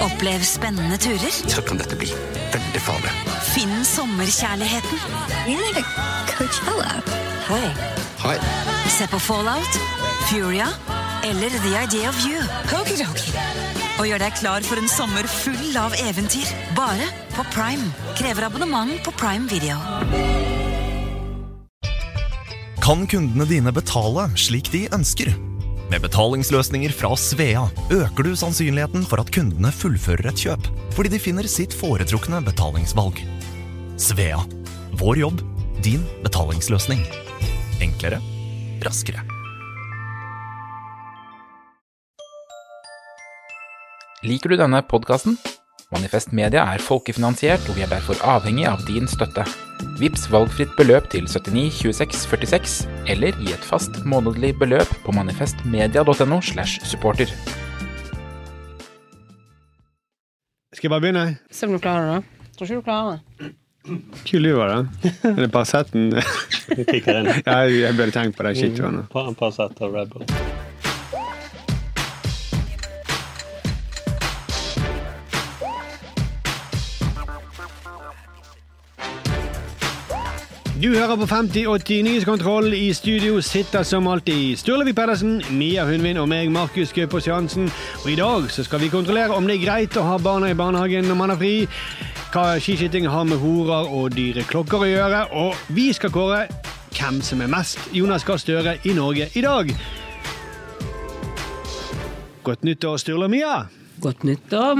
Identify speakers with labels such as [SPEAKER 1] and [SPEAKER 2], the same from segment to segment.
[SPEAKER 1] Opplev spennende turer.
[SPEAKER 2] Så kan dette bli veldig farlig.
[SPEAKER 1] Finn sommerkjærligheten. Hei.
[SPEAKER 2] Hei.
[SPEAKER 1] Se på Fallout, Furia eller The Idea of You. Og gjør deg klar for en sommer full av eventyr. Bare på Prime. Krever abonnement på Prime Video.
[SPEAKER 3] kan kundene dine betale slik de ønsker. Med betalingsløsninger fra Svea øker du sannsynligheten for at kundene fullfører et kjøp, fordi de finner sitt foretrukne betalingsvalg. Svea vår jobb, din betalingsløsning. Enklere, raskere.
[SPEAKER 4] Liker du denne podkasten? Manifest Media er folkefinansiert, og vi er derfor avhengig av din støtte. Vips valgfritt beløp til 79 26 46, eller gi et fast månedlig beløp på manifestmedia.no. slash supporter.
[SPEAKER 5] Skal jeg bare begynne?
[SPEAKER 6] Se om du klarer det. Tror ikke du klarer det.
[SPEAKER 5] Kul du var, da. Er det Paraceten?
[SPEAKER 7] kicker inn.
[SPEAKER 5] ja, jeg burde tenkt på det. Shit, Johanna.
[SPEAKER 7] På en par sett av Red Bull.
[SPEAKER 5] Du hører på 5080 Nyhetskontroll. I studio sitter som alltid Sturlevi Pedersen, Mia Hundvin og meg, Markus Gaupås Johansen. Og i dag så skal vi kontrollere om det er greit å ha barna i barnehagen når man har fri, hva skiskyting har med horer og dyre klokker å gjøre, og vi skal kåre hvem som er mest Jonas Gahr Støre i Norge i dag. Godt nyttår, Sturle og Mia.
[SPEAKER 6] Godt nyttår,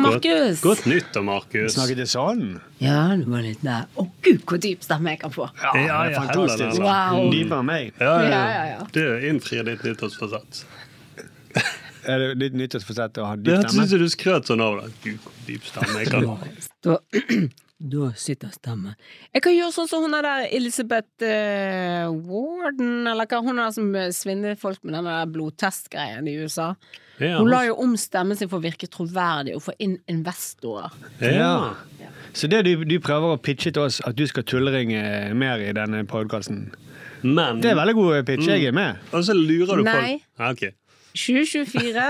[SPEAKER 7] Godt,
[SPEAKER 6] Markus.
[SPEAKER 7] godt nyttår, Markus.
[SPEAKER 5] Snakket det sånn?
[SPEAKER 6] Ja, du var litt der. Å gud, hvor dyp stemme jeg kan få.
[SPEAKER 5] Ja, det
[SPEAKER 7] ja,
[SPEAKER 5] er fantastisk.
[SPEAKER 7] heller,
[SPEAKER 6] heller. Wow.
[SPEAKER 5] Dypere enn meg.
[SPEAKER 7] Ja, ja,
[SPEAKER 6] Ja, ja,
[SPEAKER 7] ja.
[SPEAKER 6] ja.
[SPEAKER 7] Du innfrir ditt nyttårsforsett.
[SPEAKER 5] Er det litt nyttårsforsett å ha
[SPEAKER 7] Det
[SPEAKER 5] dyp
[SPEAKER 7] hørtes ut
[SPEAKER 5] stemme?
[SPEAKER 7] som du skrøt sånn av deg. Gud, hvor dyp stemme jeg kan ha.
[SPEAKER 6] Da, da sitter stemmen. Jeg kan gjøre sånn som hun er der Elizabeth eh, Warden, eller hva hun er der som svinner folk med den der blodtestgreien i USA.
[SPEAKER 7] Ja,
[SPEAKER 6] Hun la jo om stemmen sin for å virke troverdig og få inn investorer.
[SPEAKER 7] ja.
[SPEAKER 5] Så det du, du prøver å pitche til oss, at du skal tulleringe mer i denne podkasten,
[SPEAKER 7] Men
[SPEAKER 5] det er veldig god pitch. Jeg er med.
[SPEAKER 7] Og så lurer du
[SPEAKER 6] Nei.
[SPEAKER 7] folk. Ja, ok.
[SPEAKER 6] 2024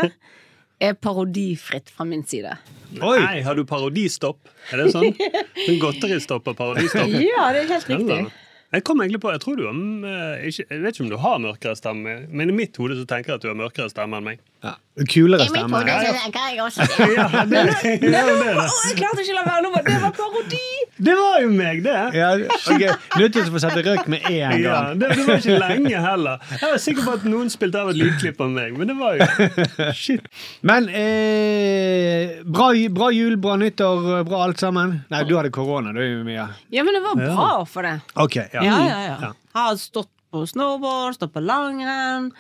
[SPEAKER 6] er parodifritt fra min side.
[SPEAKER 5] Oi!
[SPEAKER 7] Nei, har du parodistopp? Er det sånn? En godteristopp og parodistopp?
[SPEAKER 6] Ja, det er helt riktig.
[SPEAKER 7] Eller? Jeg kom egentlig på, jeg tror du har mm, eh, ikke, Jeg vet ikke om du har mørkere stemme, men i mitt hode så tenker jeg at du har mørkere stemme enn meg.
[SPEAKER 5] Ja. Kulere stemme.
[SPEAKER 7] Ja, det,
[SPEAKER 6] Å, jeg klarte ikke å la være! nå var- Det var parodi!
[SPEAKER 7] var jo meg, det!
[SPEAKER 5] Ja, ok. Nyttårsforsett røk med én
[SPEAKER 7] Ja,
[SPEAKER 5] gang.
[SPEAKER 7] det, det var ikke lenge heller. Jeg var sikker på at noen spilte av et lydklipp av meg, men det var jo Shit.
[SPEAKER 5] Men eh, bra, bra jul, bra nyttår, bra alt sammen. Nei, du hadde korona, du, Mia.
[SPEAKER 6] Ja, men det var bra for det.
[SPEAKER 5] Ok, ja.
[SPEAKER 6] Ja, ja, ja. Har stått på snowboard, stått på langrenn.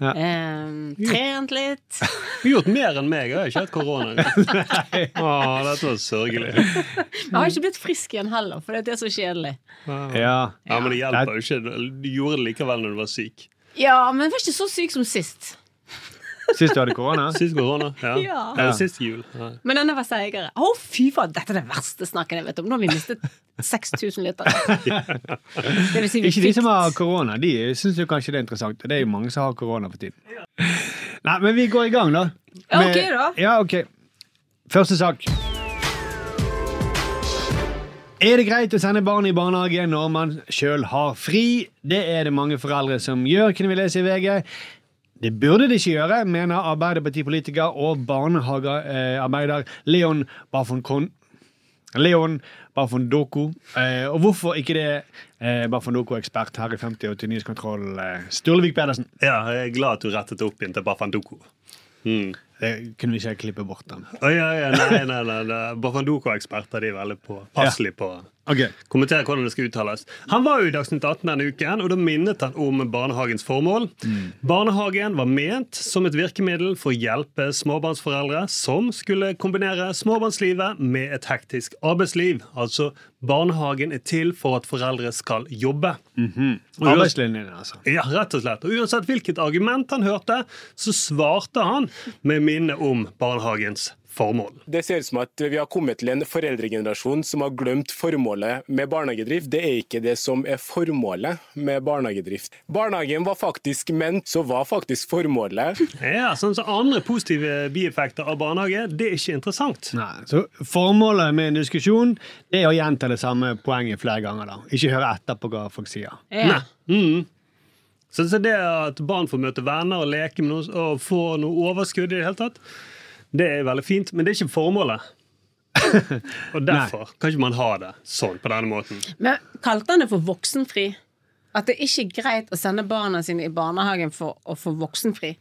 [SPEAKER 5] Ja.
[SPEAKER 6] ehm, trent litt.
[SPEAKER 7] Du har gjort mer enn meg, jeg har ikke hatt korona. Åh, dette var sørgelig.
[SPEAKER 6] Jeg har ikke blitt frisk igjen heller, for det er så kjedelig.
[SPEAKER 5] ja.
[SPEAKER 7] Ja, Men det hjelper jo ikke. Du gjorde det likevel når du var syk.
[SPEAKER 6] Ja, men jeg var ikke så syk som sist.
[SPEAKER 5] Sist du hadde korona?
[SPEAKER 7] Sist korona. Ja.
[SPEAKER 6] Ja.
[SPEAKER 7] Eller sist jul. Ja.
[SPEAKER 6] Men denne var seigere. Å, fy faen, dette er det verste snakken jeg vet om. Nå har vi mistet 6000 liter. Det vil si vi
[SPEAKER 5] Ikke de
[SPEAKER 6] fikk
[SPEAKER 5] som har korona. De syns jo kanskje det er interessant. og Det er jo mange som har korona for tiden. Nei, men vi går i gang, da.
[SPEAKER 6] Ja, ok da.
[SPEAKER 5] Ja, ok. Første sak. Er det greit å sende barn i barnehage når man sjøl har fri? Det er det mange foreldre som gjør, kunne vi lese i VG. Det burde de ikke gjøre, mener Arbeiderpartipolitiker og barnehagearbeider Leon Bafon Kon... Leon Bafondoko. Eh, og hvorfor ikke det eh, Bafondoko-ekspert her i 50 og til nyhetskontroll, eh, Sturlevik Pedersen?
[SPEAKER 7] Ja, jeg er glad at du rettet opp igjen til Bafandoko. Mm.
[SPEAKER 5] Det kunne vi ikke klippe bort den.
[SPEAKER 7] Å, ja, ja, nei, nei, nei, nei. Bafandoko-eksperter de er veldig på, passelig på
[SPEAKER 5] Ok.
[SPEAKER 7] kommentere hvordan det skal uttales. Han var jo i Dagsnytt 18 denne uken, og da minnet han om barnehagens formål. Barnehagen var ment som et virkemiddel for å hjelpe småbarnsforeldre som skulle kombinere småbarnslivet med et hektisk arbeidsliv. Altså, barnehagen er til for at foreldre skal jobbe. Og uansett-
[SPEAKER 5] Arbeidslinjen, altså.
[SPEAKER 7] ja, rett og slett. Og uansett hvilket argument han hørte, så svarte han med minne om barnehagens formål.
[SPEAKER 8] Det ser ut som at vi har kommet til en foreldregenerasjon som har glemt formålet med barnehagedrift. Det er ikke det som er formålet med barnehagedrift. Barnehagen var faktisk ment, så var faktisk formålet
[SPEAKER 7] Ja, sånn som Andre positive bieffekter av barnehage det er ikke interessant.
[SPEAKER 5] Nei, så Formålet med en diskusjon det er å gjenta det samme poenget flere ganger. da. Ikke høre etter på hva folk sier.
[SPEAKER 6] Ja.
[SPEAKER 7] Mm. Så, så det at barn får møte venner og leke med noen og få noe overskudd, i det hele tatt, det er veldig fint, men det er ikke formålet. og derfor kan ikke man ha det sånn på denne måten.
[SPEAKER 6] Men kalte han det for voksenfri? At det ikke er greit å sende barna sine i barnehagen for å få voksenfri?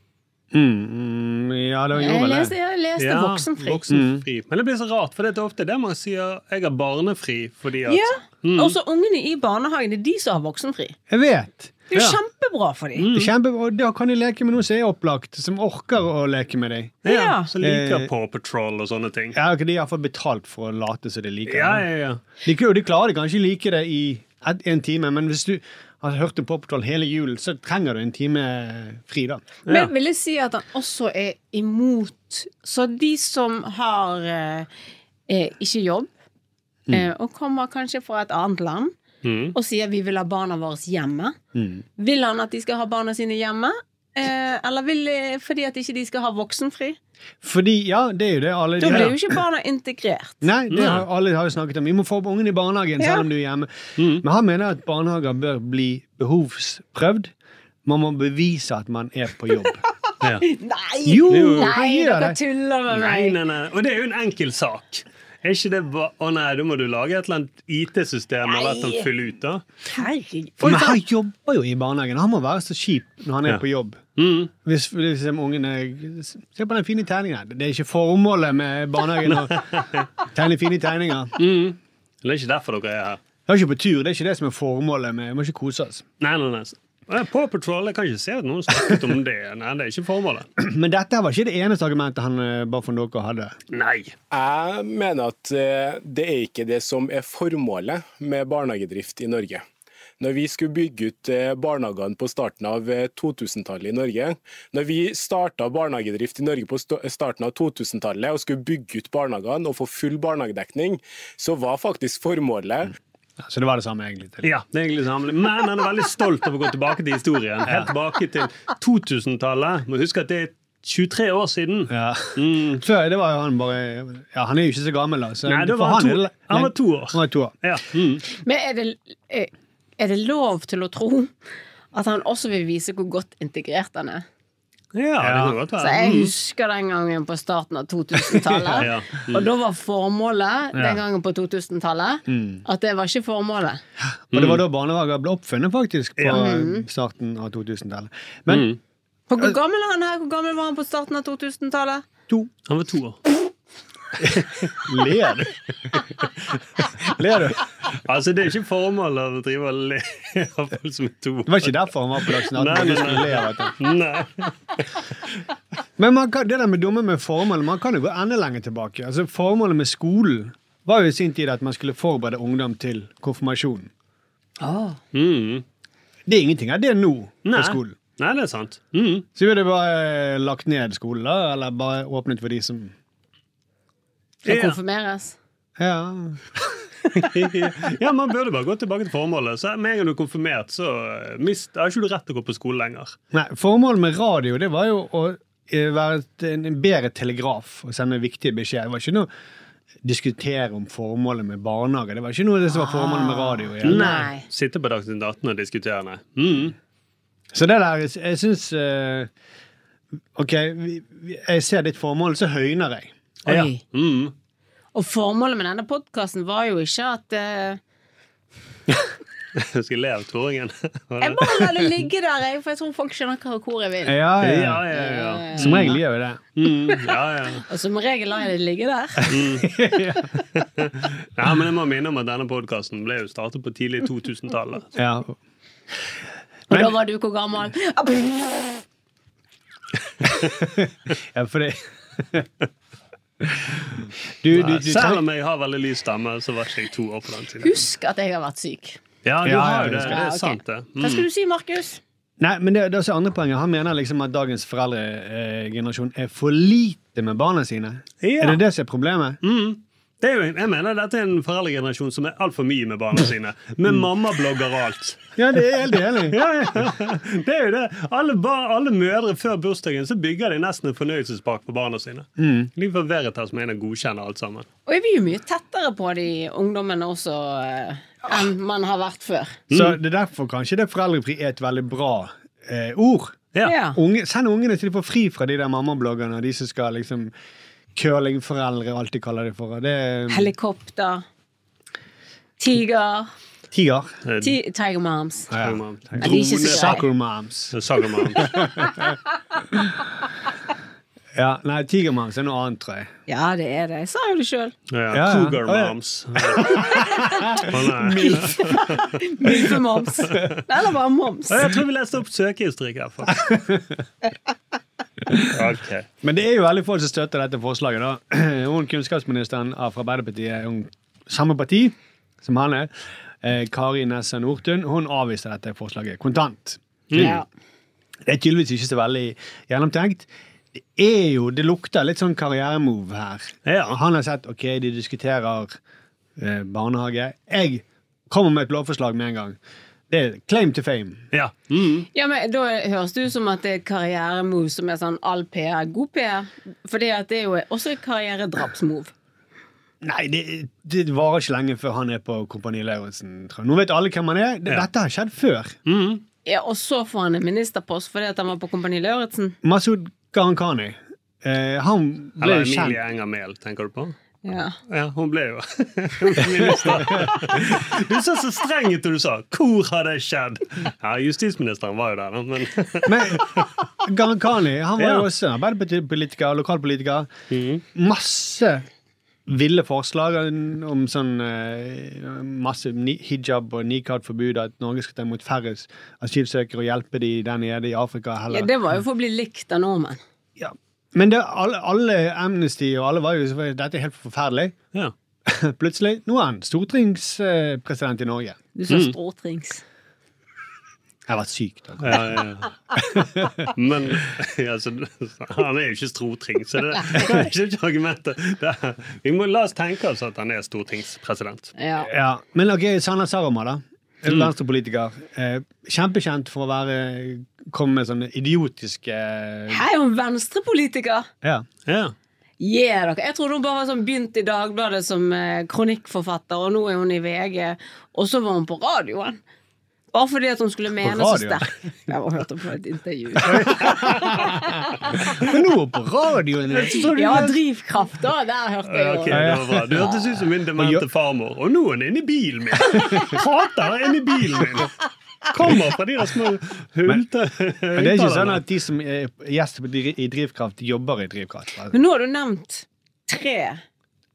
[SPEAKER 5] Mm, ja, det gjorde
[SPEAKER 6] Jeg
[SPEAKER 5] vel
[SPEAKER 6] leste,
[SPEAKER 5] det.
[SPEAKER 6] jeg leste
[SPEAKER 7] Ja,
[SPEAKER 6] voksenfri.
[SPEAKER 7] voksenfri. Men det blir så rart, for det er ofte det man sier 'jeg har barnefri' fordi at
[SPEAKER 6] Ja. Også ungene i barnehagen, det er de som har voksenfri.
[SPEAKER 5] Jeg vet.
[SPEAKER 6] Det er jo
[SPEAKER 7] Ja.
[SPEAKER 6] kjempebra for dem.
[SPEAKER 5] Det er Kjempe, og da kan de leke med noen som er opplagt, som orker å leke med deg.
[SPEAKER 7] ja.
[SPEAKER 6] Ja.
[SPEAKER 7] Så liker
[SPEAKER 5] Eh.
[SPEAKER 7] Paw Patrol og sånne ting.
[SPEAKER 5] Ja, ok, De har iallfall betalt for å late som de liker det.
[SPEAKER 7] Ja, ja, ja.
[SPEAKER 5] De, kunne- de klarer det kanskje like det i et, en time, men hvis du har hørt en poptroll hele julen, så trenger du en time fri, da.
[SPEAKER 6] Men jeg ville si at han også er imot Så de som har eh, eh, ikke jobb, eh, og kommer kanskje fra et annet land, og sier vi vil ha barna våre hjemme, vil han at de skal ha barna sine hjemme? Eh, eller vil, eh, fordi at ikke de skal ha voksenfri?
[SPEAKER 5] Fordi, ja, det er jo det alle
[SPEAKER 6] Da
[SPEAKER 5] de-
[SPEAKER 6] blir jo ikke barna integrert.
[SPEAKER 5] Nei, det har, alle har jo snakket om. Vi må få opp ungen i barnehagen
[SPEAKER 6] Ja.
[SPEAKER 5] selv om du er hjemme. Men han mener at barnehager bør bli behovsprøvd. Man må bevise at man er på jobb.
[SPEAKER 7] Ja.
[SPEAKER 6] Nei!
[SPEAKER 5] Jo,
[SPEAKER 6] nei,
[SPEAKER 5] jeg gjør
[SPEAKER 6] dere
[SPEAKER 5] det.
[SPEAKER 6] tuller med
[SPEAKER 7] Nei,
[SPEAKER 6] meg.
[SPEAKER 7] nei, nei. Og det er jo en enkel sak. Er ikke det ba Å nei, da må du lage et eller annet IT-system eller at han fyller ut, da.
[SPEAKER 6] Herregud.
[SPEAKER 5] Men han jobber jo i barnehagen. Han må være så kjip når han er
[SPEAKER 7] Ja.
[SPEAKER 5] på jobb.
[SPEAKER 7] Mm.
[SPEAKER 5] Hvis, hvis de ungene Se på den fine tegningen. her. Det er ikke formålet med barnehagen å tegne fine tegninger. Vi
[SPEAKER 7] Det er ikke derfor dere er her.
[SPEAKER 5] er ikke på tur. Det er ikke det som er formålet. med Vi må ikke kose oss.
[SPEAKER 7] Nei, nei, nei. Eh, Paw Patrol, jeg kan ikke se at noen snakket om det. Nei, det er ikke formålet.
[SPEAKER 5] Men dette her var ikke det eneste argumentet han eh, bare for noe hadde.
[SPEAKER 7] Nei.
[SPEAKER 8] Jeg mener at eh, det er ikke det som er formålet med barnehagedrift i Norge. Når vi skulle bygge ut eh, barnehagene på starten av eh, 2000-tallet i Norge, når vi starta barnehagedrift i Norge på sto- starten av 2000-tallet og skulle bygge ut barnehagene og få full barnehagedekning, så var faktisk formålet
[SPEAKER 5] Ja, Så det var det samme, egentlig. til.
[SPEAKER 7] Ja, det er egentlig samlet. Men han er veldig stolt av å gå tilbake til historien. Helt tilbake til 2000-tallet. Må huske at det er 23 år siden.
[SPEAKER 5] Ja. Før det var jo han bare Ja, han er jo ikke så gammel, da. Så
[SPEAKER 7] Mm. Nei, da
[SPEAKER 5] for
[SPEAKER 7] var han to-
[SPEAKER 5] er det-
[SPEAKER 7] han var to år.
[SPEAKER 5] Han var to år.
[SPEAKER 7] Ja. Mm.
[SPEAKER 6] Men er det, er- er det lov til å tro at han også vil vise hvor godt integrert han er?
[SPEAKER 7] ja, det kan godt
[SPEAKER 6] Så
[SPEAKER 7] være.
[SPEAKER 6] jeg husker den gangen på starten av 2000-tallet.
[SPEAKER 7] Ja, ja.
[SPEAKER 6] Og da var formålet den gangen på 2000-tallet
[SPEAKER 7] Mm.
[SPEAKER 6] at det var ikke formålet.
[SPEAKER 5] Og det var da barnehager ble oppfunnet, faktisk, på eh,
[SPEAKER 7] Mm.
[SPEAKER 5] starten av 2000-tallet. Men
[SPEAKER 6] For
[SPEAKER 7] Eh.
[SPEAKER 6] hvor gammel er han her? Hvor gammel var han på starten av 2000-tallet?
[SPEAKER 5] to
[SPEAKER 7] Han var to år.
[SPEAKER 5] Ler du? Ler du?
[SPEAKER 7] Altså, det er ikke formålet å drive og le av folk som er to
[SPEAKER 5] Det
[SPEAKER 7] år.
[SPEAKER 5] var ikke derfor han var på Dagsnytt 18.
[SPEAKER 7] Nei,
[SPEAKER 5] for
[SPEAKER 7] nei,
[SPEAKER 5] du skulle
[SPEAKER 7] nei.
[SPEAKER 5] le av dette.
[SPEAKER 7] Nei.
[SPEAKER 5] Men man kan, det der med dumme med formål, man kan jo gå enda lenger tilbake. Altså, Formålet med skolen var jo i sin tid at man skulle forberede ungdom til konfirmasjonen.
[SPEAKER 7] Mm.
[SPEAKER 5] Det er ingenting av det nå
[SPEAKER 7] Nei.
[SPEAKER 5] på skolen.
[SPEAKER 7] Nei, det er sant. Mm.
[SPEAKER 5] Så ville det bare eh, lagt ned skolen, da, eller bare åpnet for de som
[SPEAKER 6] Skal
[SPEAKER 7] Ja.
[SPEAKER 6] konfirmeres.
[SPEAKER 5] Ja.
[SPEAKER 7] ja, Man burde bare gå tilbake til formålet. Så Med en gang du er konfirmert, så eh, mist, har ikke du rett til å gå på skole lenger.
[SPEAKER 5] Nei, formålet med radio det var jo å eh, være et- en en bedre telegraf og sende viktige beskjeder. Det var ikke noe å diskutere om formålet med barnehage. Det var ikke noe av det som var formålet med radio. igjen.
[SPEAKER 6] Ah. Nei.
[SPEAKER 7] Sitte på Dagsnytt 18 og diskutere, nei. Mm.
[SPEAKER 5] Så det der, jeg- jeg syns eh, OK, vi- vi- jeg ser ditt formål, så høyner jeg.
[SPEAKER 6] Oi.
[SPEAKER 7] Ja. Mm.
[SPEAKER 6] Og formålet med denne podkasten var jo ikke at eh,
[SPEAKER 7] Jeg skal le av toåringen.
[SPEAKER 6] Jeg bare lar det ligge der, jeg, for jeg tror folk skjønner hva hvor jeg vil.
[SPEAKER 5] Ja,
[SPEAKER 7] Ja,
[SPEAKER 5] ja.
[SPEAKER 7] ja, ja.
[SPEAKER 5] Som regel gjør vi det.
[SPEAKER 7] Mm, ja, ja.
[SPEAKER 6] Og som regel lar jeg det ligge der.
[SPEAKER 7] Ja, men jeg må minne om at denne podkasten ble jo startet på tidlig 2000-tallet.
[SPEAKER 5] Ja.
[SPEAKER 6] Og da var du hvor gammel? Ah, pff.
[SPEAKER 5] ja for det du, du, du,
[SPEAKER 7] Selv om jeg har veldig lys stemme, så var ikke jeg to år på den tiden.
[SPEAKER 6] Husk at jeg har vært syk.
[SPEAKER 7] Ja, du
[SPEAKER 5] Ja,
[SPEAKER 7] har
[SPEAKER 5] ja,
[SPEAKER 7] jo det.
[SPEAKER 5] husker
[SPEAKER 7] Det
[SPEAKER 6] Ja,
[SPEAKER 7] er
[SPEAKER 6] ok.
[SPEAKER 7] sant, det.
[SPEAKER 6] Hva
[SPEAKER 7] Mm.
[SPEAKER 6] skal du si, Markus?
[SPEAKER 5] Nei, men det, det er også andre poenget. Han mener liksom at dagens foreldregenerasjon er for lite med barna sine.
[SPEAKER 7] Ja.
[SPEAKER 5] Er det det som er problemet?
[SPEAKER 7] Mm. Det er jo, jeg mener dette er en foreldregenerasjon som er altfor mye med barna sine. Med mammablogger og alt.
[SPEAKER 5] Ja, det er helt enig.
[SPEAKER 7] Ja, ja. Det er jo det. Alle, bar, alle mødre før bursdagen så bygger de nesten en fornøyelsespark for barna sine. De forverret her som en og godkjenner alt sammen.
[SPEAKER 6] Og jeg blir jo mye tettere på de ungdommene også eh, enn man har vært før.
[SPEAKER 5] Så det er derfor kanskje det foreldrefri er et veldig bra eh, ord.
[SPEAKER 7] Ja.
[SPEAKER 6] Ja.
[SPEAKER 5] Unge, send ungene til de får fri fra de der mammabloggerne og de som skal liksom curlingforeldre og alt de kaller det for. og Det er
[SPEAKER 6] Helikopter. Tiger.
[SPEAKER 5] tiger.
[SPEAKER 7] Eh,
[SPEAKER 6] Ti tiger moms.
[SPEAKER 5] Ja.
[SPEAKER 6] Ja, de er ikke så
[SPEAKER 5] Soccer
[SPEAKER 6] greie.
[SPEAKER 5] moms.
[SPEAKER 7] Sagermann.
[SPEAKER 5] Ja, nei, tiger moms er noe annet, tror jeg.
[SPEAKER 6] Ja, det er det. Jeg sa jo det sjøl.
[SPEAKER 7] Ja,
[SPEAKER 5] ja.
[SPEAKER 7] Cougar
[SPEAKER 5] Å, ja.
[SPEAKER 7] Moms. Å, nei.
[SPEAKER 6] Milfemoms. Eller bare moms.
[SPEAKER 7] Ja, Jeg tror vi leste opp søkehistorikk her. faktisk. Ok.
[SPEAKER 5] Men det er jo veldig få som støtter dette forslaget. da. Hun kunnskapsministeren av- fra Arbeiderpartiet, hun, samme parti som han er, eh, Kari Nessa Nordtun, hun avviser dette forslaget kontant.
[SPEAKER 7] Mm.
[SPEAKER 6] Ja.
[SPEAKER 5] Det er tydeligvis ikke så veldig gjennomtenkt. Det er jo, det lukter litt sånn karrieremove her.
[SPEAKER 7] Ja.
[SPEAKER 5] Han har sett ok, de diskuterer eh, barnehage. Jeg kommer med et lovforslag med en gang. Det er claim to fame.
[SPEAKER 7] Ja. Mm.
[SPEAKER 6] ja, men Da høres det ut som at det er karrieremove som er sånn all PR er god PR. For det at det er jo også et karrieredrapsmove.
[SPEAKER 5] Nei, det, det varer ikke lenge før han er på Kompani Lauritzen. tror jeg. Nå vet alle hvem han er. Det,
[SPEAKER 7] Ja.
[SPEAKER 5] Dette har skjedd før.
[SPEAKER 6] Ja, og så får han en ministerpost fordi at han var på Kompani Lauritzen.
[SPEAKER 5] Masud Gharahkhani. Eh, han ble
[SPEAKER 7] Eller
[SPEAKER 5] jo kjent
[SPEAKER 7] Emilie Enger Mehl, tenker du på?
[SPEAKER 6] Ja.
[SPEAKER 7] Ja, hun ble jo minister. Du så så streng ut da du sa 'hvor har det skjedd'? Ja, Justisministeren var jo der, da, men
[SPEAKER 5] Men Gharahkhani han var
[SPEAKER 7] Ja. Mhm.
[SPEAKER 5] jo også arbeiderpartipolitiker, lokalpolitiker. Masse ville forslag om sånn eh, masse ni- hijab og nikad-forbud, at Norge skal ta imot færre asylsøkere og hjelpe de der nede i Afrika.
[SPEAKER 6] ja,
[SPEAKER 5] Heller.
[SPEAKER 6] Det var jo for å bli likt av nordmenn.
[SPEAKER 5] Ja. Men det, alle, alle Amnesty og alle var jo selvfølgelig, dette er helt forferdelig.
[SPEAKER 7] ja.
[SPEAKER 5] Plutselig, nå er han stortingspresident i Norge.
[SPEAKER 6] Du sa stortrings.
[SPEAKER 5] Jeg har vært syk. da.
[SPEAKER 7] Ja, ja, ja. Men ja, så, han er jo ikke storting, så det, det er ikke et argument. Det er- Vi må la oss tenke oss at han er stortingspresident.
[SPEAKER 6] Ja.
[SPEAKER 5] Ja. Men ok, Sanna Saroma, da. Venstrepolitiker. Eh, kjempekjent for å være komme med sånne idiotiske
[SPEAKER 6] Hei, hun venstrepolitiker!
[SPEAKER 5] ja.
[SPEAKER 7] Ja.
[SPEAKER 6] Yeah, dere. Jeg trodde hun bare var sånn begynt i Dagbladet som eh, kronikkforfatter, og nå er hun i VG. Og så var hun på radioen! Bare fordi at hun skulle mene så
[SPEAKER 5] radioen?
[SPEAKER 6] sterkt. Jeg var hørte på et intervju.
[SPEAKER 5] Men nå på radioen!
[SPEAKER 6] Ja, drivkraft, da! Der hørte jeg
[SPEAKER 7] Ja,
[SPEAKER 6] jo.
[SPEAKER 7] ok, det var bra. Du hørtes ut som min demente farmor. Og nå er han inne i bilen min! Prater inne i bilen min! Kommer fra de der små hulte
[SPEAKER 5] Men det er ikke sånn at de som er gjester på Dri- i Drivkraft, jobber i Drivkraft.
[SPEAKER 6] Men nå har du nevnt tre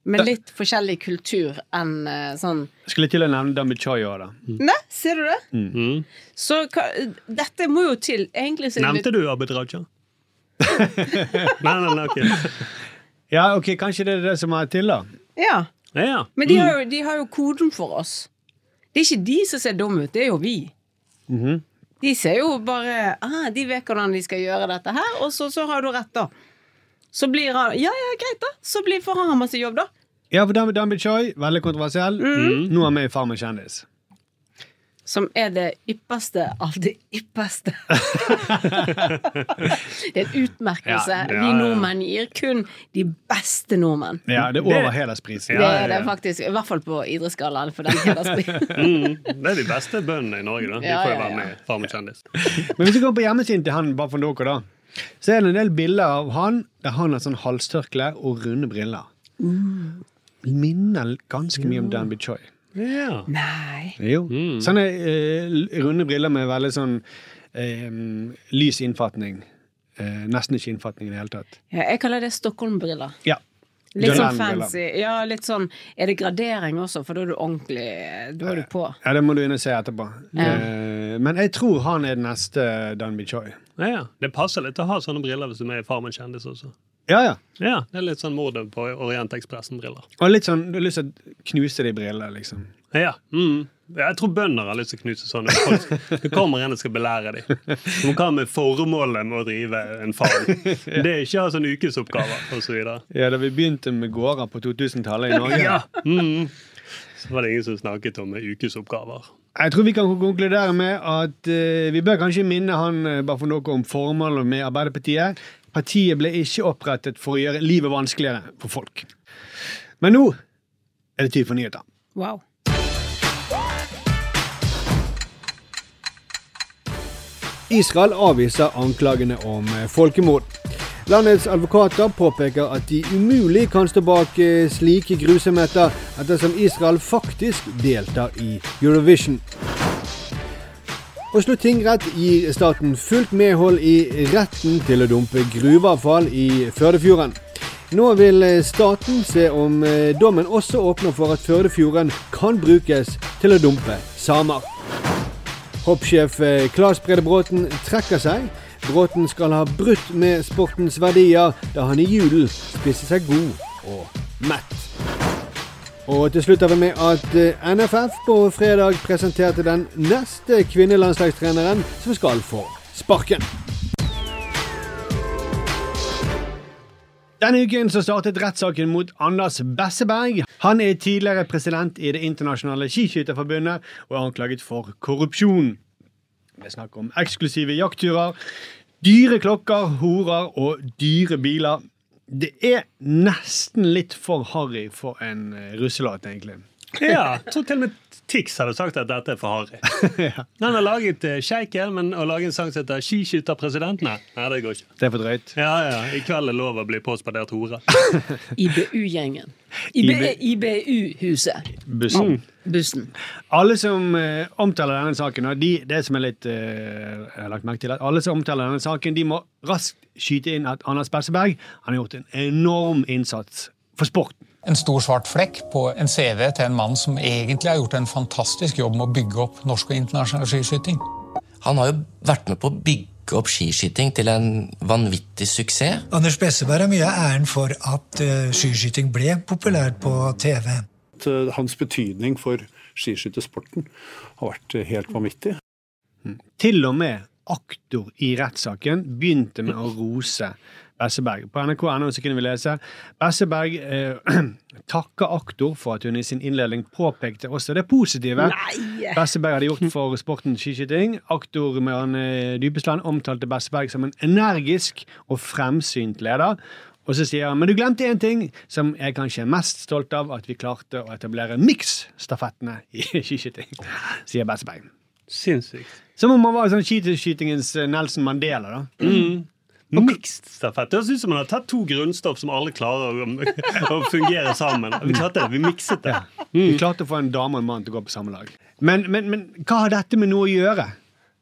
[SPEAKER 6] med litt forskjellig kultur enn eh, sånn
[SPEAKER 5] Skulle til å nevne Dambi Choi òg, da.
[SPEAKER 6] Nei, ser du det?
[SPEAKER 7] Mm.
[SPEAKER 6] Så hva, dette må jo til. Egentlig så er det
[SPEAKER 7] Nevnte du Abid Raja? Nei, nei, nei, ok.
[SPEAKER 5] Ja, ok, kanskje det er det som er til, da.
[SPEAKER 6] Ja.
[SPEAKER 7] Ja,
[SPEAKER 6] Men de har, jo, de har jo koden for oss. Det er ikke de som ser dumme ut, det er jo vi.
[SPEAKER 7] Mhm.
[SPEAKER 6] De ser jo bare ah, De vet hvordan de skal gjøre dette her, og så, så har du rett, da. Så blir han Ja, ja, greit, da. Så blir, får han masse jobb, da.
[SPEAKER 5] Ja, for Dambi, Dambi Choi, veldig kontroversiell. Nå er han med i Farmen kjendis.
[SPEAKER 6] Som er det ypperste av det ypperste. det er en utmerkelse
[SPEAKER 7] Ja, ja,
[SPEAKER 6] vi
[SPEAKER 7] ja.
[SPEAKER 6] nordmenn gir kun de beste nordmenn.
[SPEAKER 5] Ja, det er over hedersprisen.
[SPEAKER 6] Det
[SPEAKER 7] Ja, ja,
[SPEAKER 6] er det
[SPEAKER 7] ja.
[SPEAKER 6] faktisk. I hvert fall på idrettsgallaen. For den hedersprisen.
[SPEAKER 7] Mm, det er de beste bøndene i Norge, da. De
[SPEAKER 6] Ja,
[SPEAKER 7] får jo
[SPEAKER 6] ja,
[SPEAKER 7] være
[SPEAKER 6] ja.
[SPEAKER 7] med i Farmen kjendis.
[SPEAKER 5] Men hvis vi går på hjemmesiden til han Bafondoko, da, så er det en del bilder av han der han har sånn Mm. halstørkle og runde briller. Minner ganske mye om Dan Bichoy.
[SPEAKER 7] Ja.
[SPEAKER 6] Nei.
[SPEAKER 5] Jo. Sånne eh, l- runde briller med veldig sånn eh, lys innfatning. Eh, nesten ikke innfatning i det hele tatt.
[SPEAKER 6] Ja, jeg kaller det Stockholm-briller.
[SPEAKER 5] Ja.
[SPEAKER 6] Litt sånn
[SPEAKER 5] Dunlap-briller.
[SPEAKER 6] fancy. Ja, litt sånn Er det gradering også, for da er du ordentlig Da er du på.
[SPEAKER 5] Ja, Det må du inn og se etterpå.
[SPEAKER 6] Ja.
[SPEAKER 5] Eh, men jeg tror han er den neste Danby Choi.
[SPEAKER 7] Ja, ja. Det passer litt å ha sånne briller hvis du er med i Farmen kjendis også.
[SPEAKER 5] Ja, ja.
[SPEAKER 7] Ja, det er litt sånn mordet på Orientekspressen-briller.
[SPEAKER 5] Og litt sånn, Du har lyst til å knuse de brillene, liksom.
[SPEAKER 7] Ja, mm. Ja, Jeg tror bønder har lyst til å knuse sånne. Folk- Det kommer en og skal belære dem. Som kan med formålet med å drive en farm. Det er ikke å ha sånne ukesoppgaver osv. Så, videre.
[SPEAKER 5] Ja, Da vi begynte med gårder på 2000-tallet i Norge
[SPEAKER 7] mm. så var det ingen som snakket om ukesoppgaver.
[SPEAKER 5] Jeg tror vi kan konkludere med at eh, vi bør kanskje minne han eh, bare for noe om formålet med Arbeiderpartiet. Partiet ble ikke opprettet for å gjøre livet vanskeligere for folk. Men nå er det tid for nyheter.
[SPEAKER 6] Wow.
[SPEAKER 5] Israel avviser anklagene om eh, folkemord. Landets advokater påpeker at de umulig kan stå bak eh, slike grusomheter, ettersom Israel faktisk deltar i Eurovision. Oslo tingrett gir staten fullt medhold i retten til å dumpe gruveavfall i Førdefjorden. Nå vil eh, staten se om eh, dommen også åpner for at Førdefjorden kan brukes til å dumpe samer. Hoppsjef eh, Claes Brede Bråten trekker seg. Bråten skal ha brutt med sportens verdier da han i julen spiste seg god og mett. Og til slutt er vi med at eh, NFF på fredag presenterte den neste kvinnelandslagstreneren som skal få sparken. Denne uken så startet rettssaken mot Anders Besseberg. Han er tidligere president i Det internasjonale skiskytterforbundet og er anklaget for korrupsjon. Det er snakk om eksklusive jaktturer, dyre klokker, horer og dyre biler. Det er nesten litt for harry for en eh, russelåt, egentlig.
[SPEAKER 7] Ja, jeg tror til og med Tix hadde sagt at dette er for harry. Han har laget eh, Sjeiken, men å lage en sang som heter 'Skiskytterpresident'? Nei, nei, det går ikke.
[SPEAKER 5] Det er for drøyt.
[SPEAKER 7] Ja, ja, I kveld er lov å bli påspadert hore.
[SPEAKER 6] IBU-gjengen.
[SPEAKER 5] IB-
[SPEAKER 6] IBU-huset.
[SPEAKER 5] Bussen.
[SPEAKER 6] Bussen.
[SPEAKER 5] Alle som eh, omtaler denne saken, og de, det som er litt eh, jeg har lagt merke til, at alle som omtaler denne saken, de må raskt skyte inn at Anders Besseberg han har gjort en enorm innsats for sporten.
[SPEAKER 9] En stor svart flekk på en CV til en mann som egentlig har gjort en fantastisk jobb med å bygge opp norsk og internasjonal skiskyting.
[SPEAKER 10] Han har jo vært med på å bygge opp skiskyting til en vanvittig suksess.
[SPEAKER 11] Anders Besseberg har mye av æren for at eh, skiskyting ble populært på TV.
[SPEAKER 12] Hans betydning for skiskyttersporten har vært helt vanvittig.
[SPEAKER 5] Til og med aktor i rettssaken begynte med å rose Besseberg. På nrk.no så kunne vi lese Besseberg eh, takker aktor for at hun i sin innledning påpekte også det positive.
[SPEAKER 6] Nei!
[SPEAKER 5] Besseberg hadde gjort for sporten skiskyting. Aktor Marianne Dybesland omtalte Besseberg som en energisk og fremsynt leder. Og så sier han men du glemte én ting som jeg kanskje er mest stolt av, at vi klarte å etablere miksstafettene i skiskyting, sier Besseberg.
[SPEAKER 7] Sinnssykt.
[SPEAKER 5] Som om han var sånn skiskytingens Nelson Mandela, da.
[SPEAKER 7] Mixed stafett. Det høres ut som man har tatt to grunnstoff som alle klarer å, å fungere sammen. Vi klarte det, vi mikset det.
[SPEAKER 5] Vi klarte å få en dame og en mann til å gå på samme lag. Men, men, men hva har dette med noe å gjøre?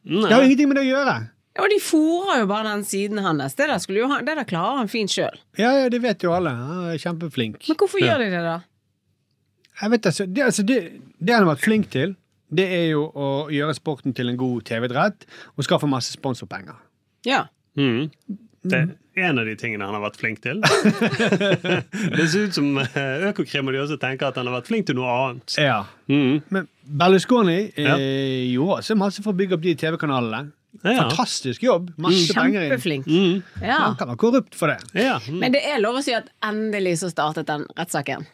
[SPEAKER 5] Det har jo
[SPEAKER 7] Nei.
[SPEAKER 5] ingenting med det å gjøre.
[SPEAKER 6] Og de fôrer jo bare den siden hans. Det der, skulle jo han, det der klarer han fint sjøl.
[SPEAKER 5] Ja, ja, det vet jo alle. Han er kjempeflink.
[SPEAKER 6] Men hvorfor gjør de det, da?
[SPEAKER 5] Jeg vet altså, det, altså det, det han har vært flink til, det er jo å gjøre sporten til en god TV-idrett og skaffe masse sponsorpenger.
[SPEAKER 6] Ja.
[SPEAKER 7] Mm. Det er en av de tingene han har vært flink til. det ser ut som eh, Økokrim og de også tenker at han har vært flink til noe annet.
[SPEAKER 5] Ja.
[SPEAKER 7] Mm.
[SPEAKER 5] Men Berlusconi eh,
[SPEAKER 7] Ja.
[SPEAKER 5] gjorde også masse for å bygge opp de TV-kanalene.
[SPEAKER 7] Ja, ja.
[SPEAKER 5] Fantastisk jobb. Mm. Masse penger inn.
[SPEAKER 6] Kjempeflink.
[SPEAKER 7] Mm.
[SPEAKER 6] Ja.
[SPEAKER 5] Han kan være korrupt for det.
[SPEAKER 7] Ja. Mm.
[SPEAKER 6] Men det er lov å si at endelig så startet den rettssaken.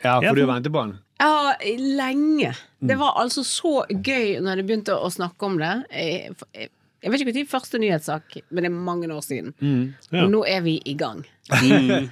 [SPEAKER 5] Ja,
[SPEAKER 7] Ja,
[SPEAKER 5] for du
[SPEAKER 7] for-
[SPEAKER 5] venter på han.
[SPEAKER 6] Ja, lenge.
[SPEAKER 7] Mm.
[SPEAKER 6] Det var altså så gøy når de begynte å snakke om det. Jeg, jeg vet ikke når første nyhetssak, men det er mange år siden.
[SPEAKER 7] Mm, ja.
[SPEAKER 6] Og nå er vi i gang. Og jeg,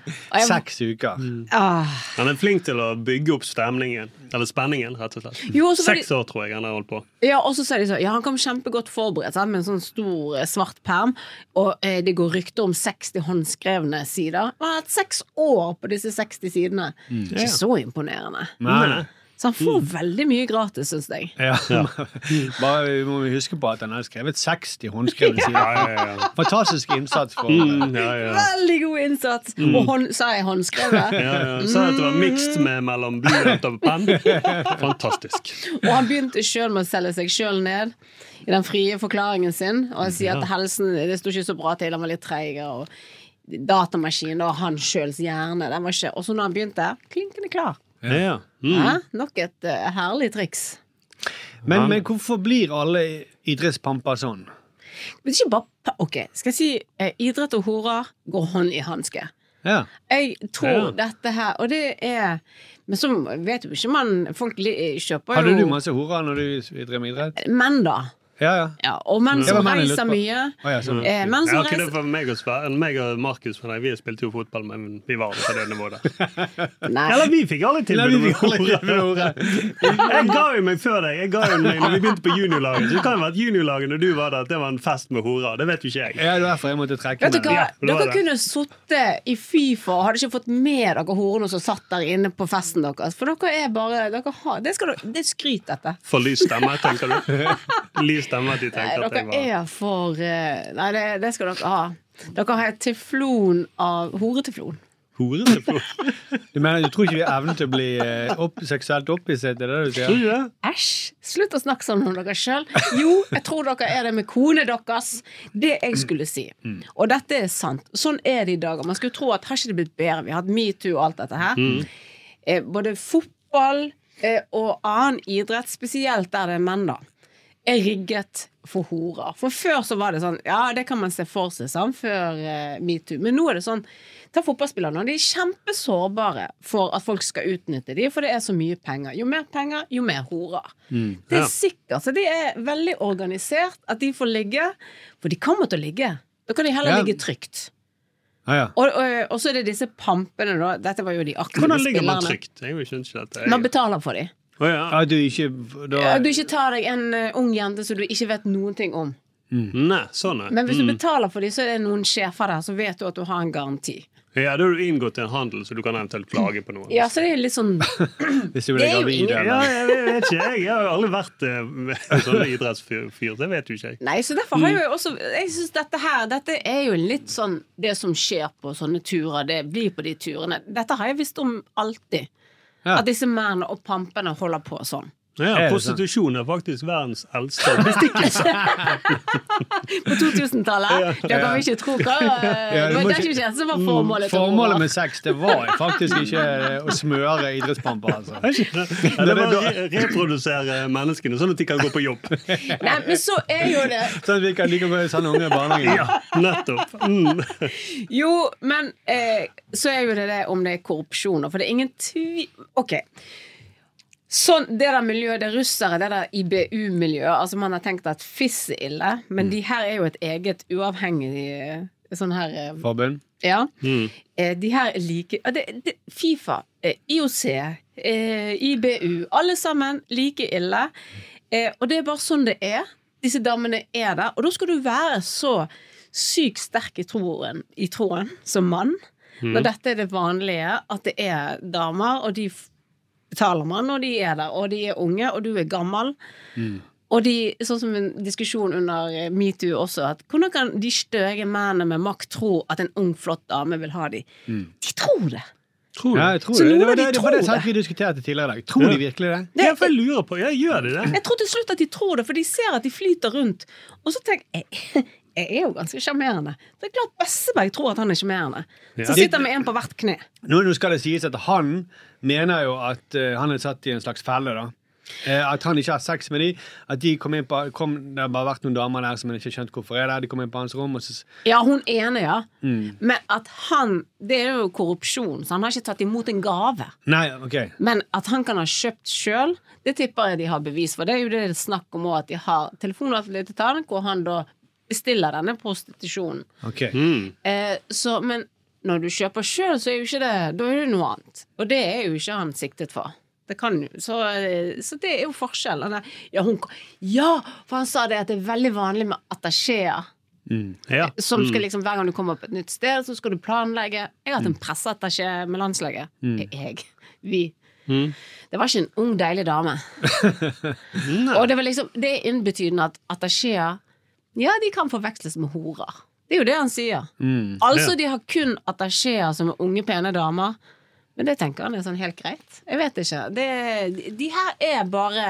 [SPEAKER 5] Seks uker.
[SPEAKER 6] ah,
[SPEAKER 7] Han er flink til å bygge opp stemningen. Eller spenningen, rett og slett.
[SPEAKER 6] Jo, og så var
[SPEAKER 7] Seks år, tror jeg han har holdt på.
[SPEAKER 6] ja, og så sa de så, ja, han kom kjempegodt forberedt sant, med en sånn stor eh, svart perm, og eh, det går rykter om 60 håndskrevne
[SPEAKER 7] Mm.
[SPEAKER 6] sider. Han har hatt seks år på disse 60 sidene. Ikke så imponerende. Mm.
[SPEAKER 5] Nei.
[SPEAKER 6] Så han får veldig mye gratis, syns jeg.
[SPEAKER 5] Mm. Ja. Bare må vi huske på at han har skrevet 60 håndskrevne sider.
[SPEAKER 6] Ja, ja, ja, ja.
[SPEAKER 5] Fantastisk innsats for
[SPEAKER 7] Mm, ja, ja.
[SPEAKER 6] Veldig god innsats!
[SPEAKER 7] Mm.
[SPEAKER 6] Og hånd, sa jeg håndskrevet?
[SPEAKER 7] Ja, ja. Sa at det var mixed med mellom blyant og penn. Fantastisk.
[SPEAKER 6] Og han begynte sjøl med å selge seg sjøl ned i den frie forklaringen sin. Og han sier at
[SPEAKER 7] Ja.
[SPEAKER 6] helsen det sto ikke så bra til, han var litt treig. Og datamaskinen og han sjøls hjerne, den var ikke Og så når han begynte, klinkende klar.
[SPEAKER 5] Ja, ja.
[SPEAKER 6] Hæ? Nok et eh, herlig triks.
[SPEAKER 5] Men, men hvorfor blir alle idrettspamper sånn?
[SPEAKER 6] Men ikke bare pa- Ok, skal jeg si eh, idrett og horer går hånd i hanske.
[SPEAKER 5] Ja.
[SPEAKER 6] Jeg tror
[SPEAKER 5] Ja.
[SPEAKER 6] dette her Og det er Men så vet jo ikke man Folk li- eh, kjøper
[SPEAKER 5] Hadde
[SPEAKER 6] jo
[SPEAKER 5] du masse horer når du drev med idrett?
[SPEAKER 6] Menn, da.
[SPEAKER 5] Ja, ja.
[SPEAKER 6] og menn
[SPEAKER 5] Det var
[SPEAKER 6] som
[SPEAKER 5] menn jeg lurte
[SPEAKER 6] reiser
[SPEAKER 5] på.
[SPEAKER 6] mye.
[SPEAKER 5] Å, ja, sånn.
[SPEAKER 6] Eh, menn som
[SPEAKER 7] ja, ok,
[SPEAKER 6] reiser-
[SPEAKER 7] det var meg og, Sver- meg og Markus. men Nei, vi spilte jo fotball, men vi var på det nivået der. Eller vi fikk aldri tilbud
[SPEAKER 5] Nei, vi fikk
[SPEAKER 7] om
[SPEAKER 5] aldri
[SPEAKER 7] hore.
[SPEAKER 5] tilbud om hore.
[SPEAKER 7] Jeg ga jo meg før deg. Jeg ga jo meg når vi begynte på juniorlaget. Så det kan jo være at juniorlaget når du var der, at det var en fest med horer. Det vet jo ikke jeg.
[SPEAKER 5] Ja, det var derfor jeg måtte trekke
[SPEAKER 6] Vet du hva? Dere kunne sittet i Fifa og hadde ikke fått med dere horene som satt der inne på festen deres. For dere er bare dere har, Det, skal dere, det er skryt, dette.
[SPEAKER 7] For lys stemme, tenker du? Lys stemme at de
[SPEAKER 6] Nei,
[SPEAKER 7] tenkte at
[SPEAKER 6] dere
[SPEAKER 7] jeg var
[SPEAKER 6] er for eh, Nei, det, det skal dere ha. Dere har et teflon av horeteflon.
[SPEAKER 5] Du mener, du tror ikke vi har evnen til å bli eh, opp, seksuelt opphisset? Er det det du sier?
[SPEAKER 6] Æsj! Slutt å snakke sånn om dere sjøl. Jo, jeg tror dere er det med kone deres. Det jeg skulle si. Mm. Og dette er sant. Sånn er det i dag. Og Man skulle tro at har ikke det blitt bedre? Vi har hatt metoo og alt dette her.
[SPEAKER 13] Mm.
[SPEAKER 6] Eh, både fotball eh, og annen idrett, spesielt der det er menn, da, er rigget for horer. For før så var det sånn Ja, det kan man se for seg, sant, før eh, metoo. Men nå er det sånn Ta fotballspillerne. De er kjempesårbare for at folk skal utnytte dem, for det er så mye penger. Jo mer penger, jo mer horer.
[SPEAKER 7] Mm,
[SPEAKER 6] Det er sikkert. Så de er veldig organisert at de får ligge, for de kommer til å ligge. Da kan de heller
[SPEAKER 5] Ja.
[SPEAKER 6] ligge trygt.
[SPEAKER 5] Ja, ja.
[SPEAKER 6] Og, og, og så er det disse pampene, da. Dette var jo de aktive
[SPEAKER 7] Hvordan ligger man
[SPEAKER 6] spillerne.
[SPEAKER 7] trygt? Jeg skjønner ikke dette.
[SPEAKER 6] Man betaler for dem.
[SPEAKER 7] ja.
[SPEAKER 5] du ikke da...
[SPEAKER 6] Du ikke tar deg en eh, ung jente som du ikke vet noen ting om.
[SPEAKER 7] Mm. Nei, sånn er
[SPEAKER 6] Men hvis
[SPEAKER 5] Mm.
[SPEAKER 6] du betaler for dem, så er det noen sjefer der, så vet du at du har en garanti.
[SPEAKER 7] Ja, da har du inngått en handel, så du kan eventuelt klage på noe.
[SPEAKER 6] Ja, så det er litt sånn
[SPEAKER 5] Hvis
[SPEAKER 6] du blir Det er jo gravid, ingen-
[SPEAKER 7] Ja,
[SPEAKER 6] eller?
[SPEAKER 7] jeg vet- vet ikke. Jeg Jeg har jo aldri vært eh, sånn idrettsfyr, fyr, det vet jo ikke jeg.
[SPEAKER 6] Nei, så derfor
[SPEAKER 5] Mm.
[SPEAKER 6] har jeg jo også Jeg synes dette her Dette er jo litt sånn Det som skjer på sånne turer, det blir på de turene. Dette har jeg visst om alltid.
[SPEAKER 7] Ja.
[SPEAKER 6] At disse mennene og pampene holder på sånn.
[SPEAKER 7] Ja,
[SPEAKER 6] Er det
[SPEAKER 7] prostitusjon er faktisk verdens eldste bestikkelse.
[SPEAKER 6] På 2000-tallet.
[SPEAKER 5] Ja.
[SPEAKER 6] Dere vil ikke tro hva
[SPEAKER 5] Ja,
[SPEAKER 6] Det
[SPEAKER 5] du
[SPEAKER 6] var
[SPEAKER 5] må ikke-
[SPEAKER 6] det
[SPEAKER 5] Mm,
[SPEAKER 6] ikke det som var formålet. til
[SPEAKER 5] Formålet
[SPEAKER 6] Roar.
[SPEAKER 5] med sex det var faktisk ikke eh, å smøre idrettspamper, altså.
[SPEAKER 7] Eller bare re- reprodusere menneskene, sånn at de kan gå på jobb.
[SPEAKER 6] Nei, men så er jo det
[SPEAKER 5] Sånn at vi kan like godt sende unge i barnehagen.
[SPEAKER 7] Ja, nettopp. Mm.
[SPEAKER 6] Jo, men eh, så er jo det det om det er korrupsjoner, for det er ingen tvil Ok. Sånn, det der miljøet, det russere, det der IBU-miljøet altså Man har tenkt at fiss er ille, men de her er jo et eget uavhengig eh, sånn her eh,
[SPEAKER 5] Forbund.
[SPEAKER 6] Ja. Eh, de her er like ja, det, det, Fifa, eh, IOC, eh, IBU. Alle sammen like ille. Eh, og det er bare sånn det er. Disse damene er der. Og da skal du være så sykt sterk i troen, i troen som mann,
[SPEAKER 13] Mm.
[SPEAKER 6] når dette er det vanlige, at det er damer, og de f- betaler man, og de er der, og de er unge, og du er gammel.
[SPEAKER 5] Mm.
[SPEAKER 6] Og de, sånn som en diskusjon under eh, metoo også, at hvordan kan de støge mennene med makt tro at en ung, flott dame vil ha de? De tror det!
[SPEAKER 5] Ja, jeg Mm. tror
[SPEAKER 6] Så
[SPEAKER 5] det.
[SPEAKER 6] noen
[SPEAKER 5] Det var
[SPEAKER 6] av de
[SPEAKER 5] det, det, var det
[SPEAKER 6] tror
[SPEAKER 5] vi diskuterte tidligere i dag. Tror de virkelig det?
[SPEAKER 6] Ja,
[SPEAKER 7] for jeg lurer på Jeg gjør de det?
[SPEAKER 6] Jeg tror til slutt at de tror det, for de ser at de flyter rundt. Og så tenker jeg jeg er jo ganske sjarmerende. Det er klart Besseberg tror at han er sjarmerende.
[SPEAKER 5] Ja.
[SPEAKER 6] Så sitter han med en på hvert kne.
[SPEAKER 5] Nå, nå skal det sies at han mener jo at eh, han er satt i en slags felle, da. Eh, at han ikke har sex med de. At de kom inn på kom, Det har bare vært noen damer der som han ikke har skjønt hvorfor er der. De kom inn på hans rom, og så s-
[SPEAKER 6] Ja, hun ene, ja.
[SPEAKER 5] mm.
[SPEAKER 6] Men at han Det er jo korrupsjon, så han har ikke tatt imot en gave.
[SPEAKER 5] Nei, OK.
[SPEAKER 6] Men at han kan ha kjøpt sjøl, det tipper jeg de har bevis for. Det er jo det det er snakk om òg, at de har telefonavtale til han, hvor han da bestiller denne prostitusjonen.
[SPEAKER 5] ok.
[SPEAKER 6] Eh, så, men når du kjøper sjøl, så er jo ikke det Da er det noe annet. Og det er jo ikke han siktet for. Det kan jo Så, eh, så det er jo forskjell. Han er- Ja, hun, ja, for han sa det at det er veldig vanlig med attachéer.
[SPEAKER 7] Ja.
[SPEAKER 6] Som skal
[SPEAKER 7] Mm.
[SPEAKER 6] liksom, Hver gang du kommer på et
[SPEAKER 7] Mm.
[SPEAKER 6] nytt sted, så skal du planlegge. Jeg har hatt en presseattaché med landslaget. Jeg. Vi. Det var ikke en ung, deilig dame. og det var liksom Det er innbetydende at attachéer Ja, de kan forveksles med horer. Det er jo det han sier.
[SPEAKER 13] Mm,
[SPEAKER 6] altså,
[SPEAKER 13] ja.
[SPEAKER 6] de har kun attachéer som er unge, pene damer. Men det tenker han er sånn helt greit. Jeg vet ikke. Det, de her er bare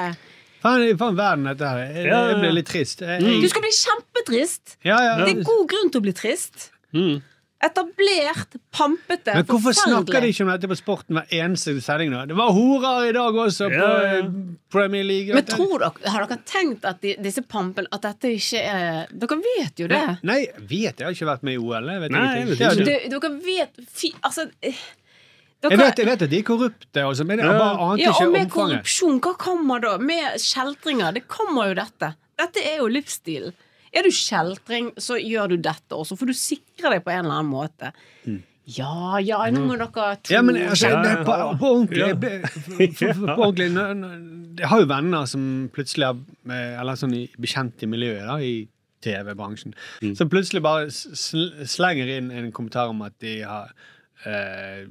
[SPEAKER 5] Faen, i faen verden dette her. Jeg,
[SPEAKER 6] Ja, ja, ja.
[SPEAKER 5] jeg ble litt trist. Jeg,
[SPEAKER 6] Du
[SPEAKER 5] jeg,
[SPEAKER 6] skal bli kjempetrist!
[SPEAKER 5] Ja, Mm. ja.
[SPEAKER 6] Det er god grunn til å bli trist.
[SPEAKER 5] Mm.
[SPEAKER 6] Etablert, pampete,
[SPEAKER 5] Men hvorfor snakker de
[SPEAKER 6] forferdelig.
[SPEAKER 5] ikke om dette på sporten hver eneste sending? da? Det var horer i dag også på
[SPEAKER 6] Ja, ja.
[SPEAKER 5] eh, Premier League.
[SPEAKER 6] Men tror dere, Har dere tenkt at de, disse pampene At dette ikke er Dere vet jo det.
[SPEAKER 5] Nei, jeg vet jeg har ikke vært med i OL. Jeg vet
[SPEAKER 7] Nei,
[SPEAKER 5] ingenting.
[SPEAKER 7] jeg vet ikke.
[SPEAKER 5] Det-
[SPEAKER 6] Det- Dere vet fi, Altså eh, dere,
[SPEAKER 5] Jeg vet, jeg vet at de er korrupte, altså, men jeg bare ante
[SPEAKER 6] ja,
[SPEAKER 5] ikke
[SPEAKER 6] og med
[SPEAKER 5] omfanget.
[SPEAKER 6] korrupsjon, hva kommer da? Med kjeltringer, det kommer jo dette. Dette er jo livsstilen. Er du kjeltring, så gjør du dette også, for du sikrer deg på en eller annen måte. Ja, ja, nå må dere
[SPEAKER 5] Mm.
[SPEAKER 6] tro
[SPEAKER 5] Ja, men altså, det, er på, på ordentlig, jeg ble, for, for, på ordentlig nå- nå- Jeg har jo venner som plutselig er eh, Eller sånn i bekjent i miljøet, da, i TV-bransjen, som plutselig bare sl slenger inn en kommentar om at de har eh,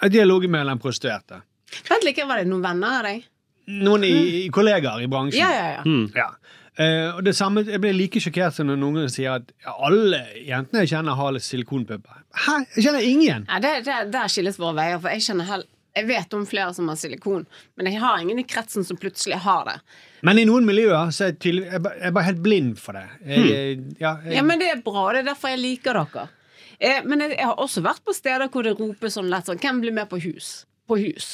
[SPEAKER 5] At de har ligget med en prostituerte.
[SPEAKER 6] Vent litt, var det noen venner av deg?
[SPEAKER 5] Noen i, i kollegaer i bransjen.
[SPEAKER 6] Ja, ja, ja.
[SPEAKER 5] Mm. ja. Eh, og det samme, Jeg blir like sjokkert som når noen sier at ja, alle jentene jeg kjenner, har silikonpupper. Hæ? Jeg kjenner ingen!
[SPEAKER 6] Nei, der, der, der skilles våre veier, for jeg kjenner hel- jeg vet om flere som har silikon, men jeg har ingen i kretsen som plutselig har det.
[SPEAKER 5] Men i noen miljøer så er jeg tydelig Jeg, ba- jeg er bare helt blind for det.
[SPEAKER 7] Hmm.
[SPEAKER 5] Jeg, ja, jeg,
[SPEAKER 6] Ja, men det er bra, det er derfor jeg liker dere. Eh, men jeg, jeg har også vært på steder hvor det roper sånn lett sånn Hvem blir med på hus? På hus.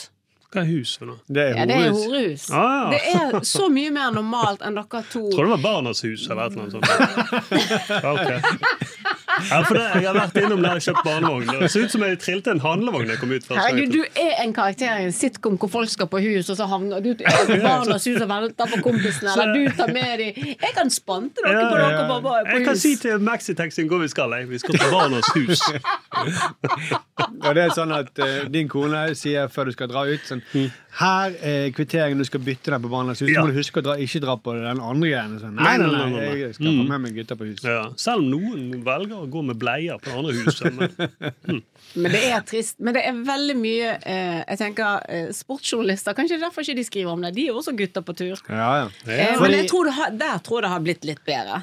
[SPEAKER 7] Hva er hus for noe?
[SPEAKER 5] Det
[SPEAKER 6] Ja, det er horehus.
[SPEAKER 7] Ah,
[SPEAKER 6] Det er så mye mer normalt enn dere to.
[SPEAKER 7] Jeg tror det var Barnas hus eller et eller annet sånt. Ja, ok. ja, for det, jeg har vært innom der og kjøpt barnevogn. Det ser ut som jeg trilte en handlevogn da jeg kom ut første gang.
[SPEAKER 6] Herregud, du er en karakter i en sitcom hvor folk skal på hus, og så havner du i barnas hus og venter på kompisene, eller du tar med dem Jeg kan spante dere
[SPEAKER 7] Ja,
[SPEAKER 6] på dere på, på, på
[SPEAKER 7] Jeg kan
[SPEAKER 6] hus.
[SPEAKER 7] si til Maxitaxien hvor vi skal. Jeg. Vi skal til Barnas hus.
[SPEAKER 5] og det er sånn at eh, din kone sier før du skal dra ut sånn Her er kvitteringen du skal bytte den på Barnas hus.
[SPEAKER 7] Hmm. Ja.
[SPEAKER 5] Så må du huske å dra, ikke dra på den andre greien. Sånn,
[SPEAKER 7] Nei, nei, nei, nei, nei.
[SPEAKER 5] Jeg skal
[SPEAKER 7] Mm.
[SPEAKER 5] få med meg gutta på huset.
[SPEAKER 7] Ja. Selv om noen velger å gå med bleier på det andre huset. Men, mm.
[SPEAKER 6] Men det er trist. Men det er veldig mye eh, Jeg tenker eh, Sportsjournalister, kanskje det er derfor ikke de skriver om det. De er jo også gutter på tur.
[SPEAKER 5] Ja, ja.
[SPEAKER 6] Eh, men
[SPEAKER 5] Fordi-
[SPEAKER 6] jeg tror det har, der tror jeg det har blitt litt bedre.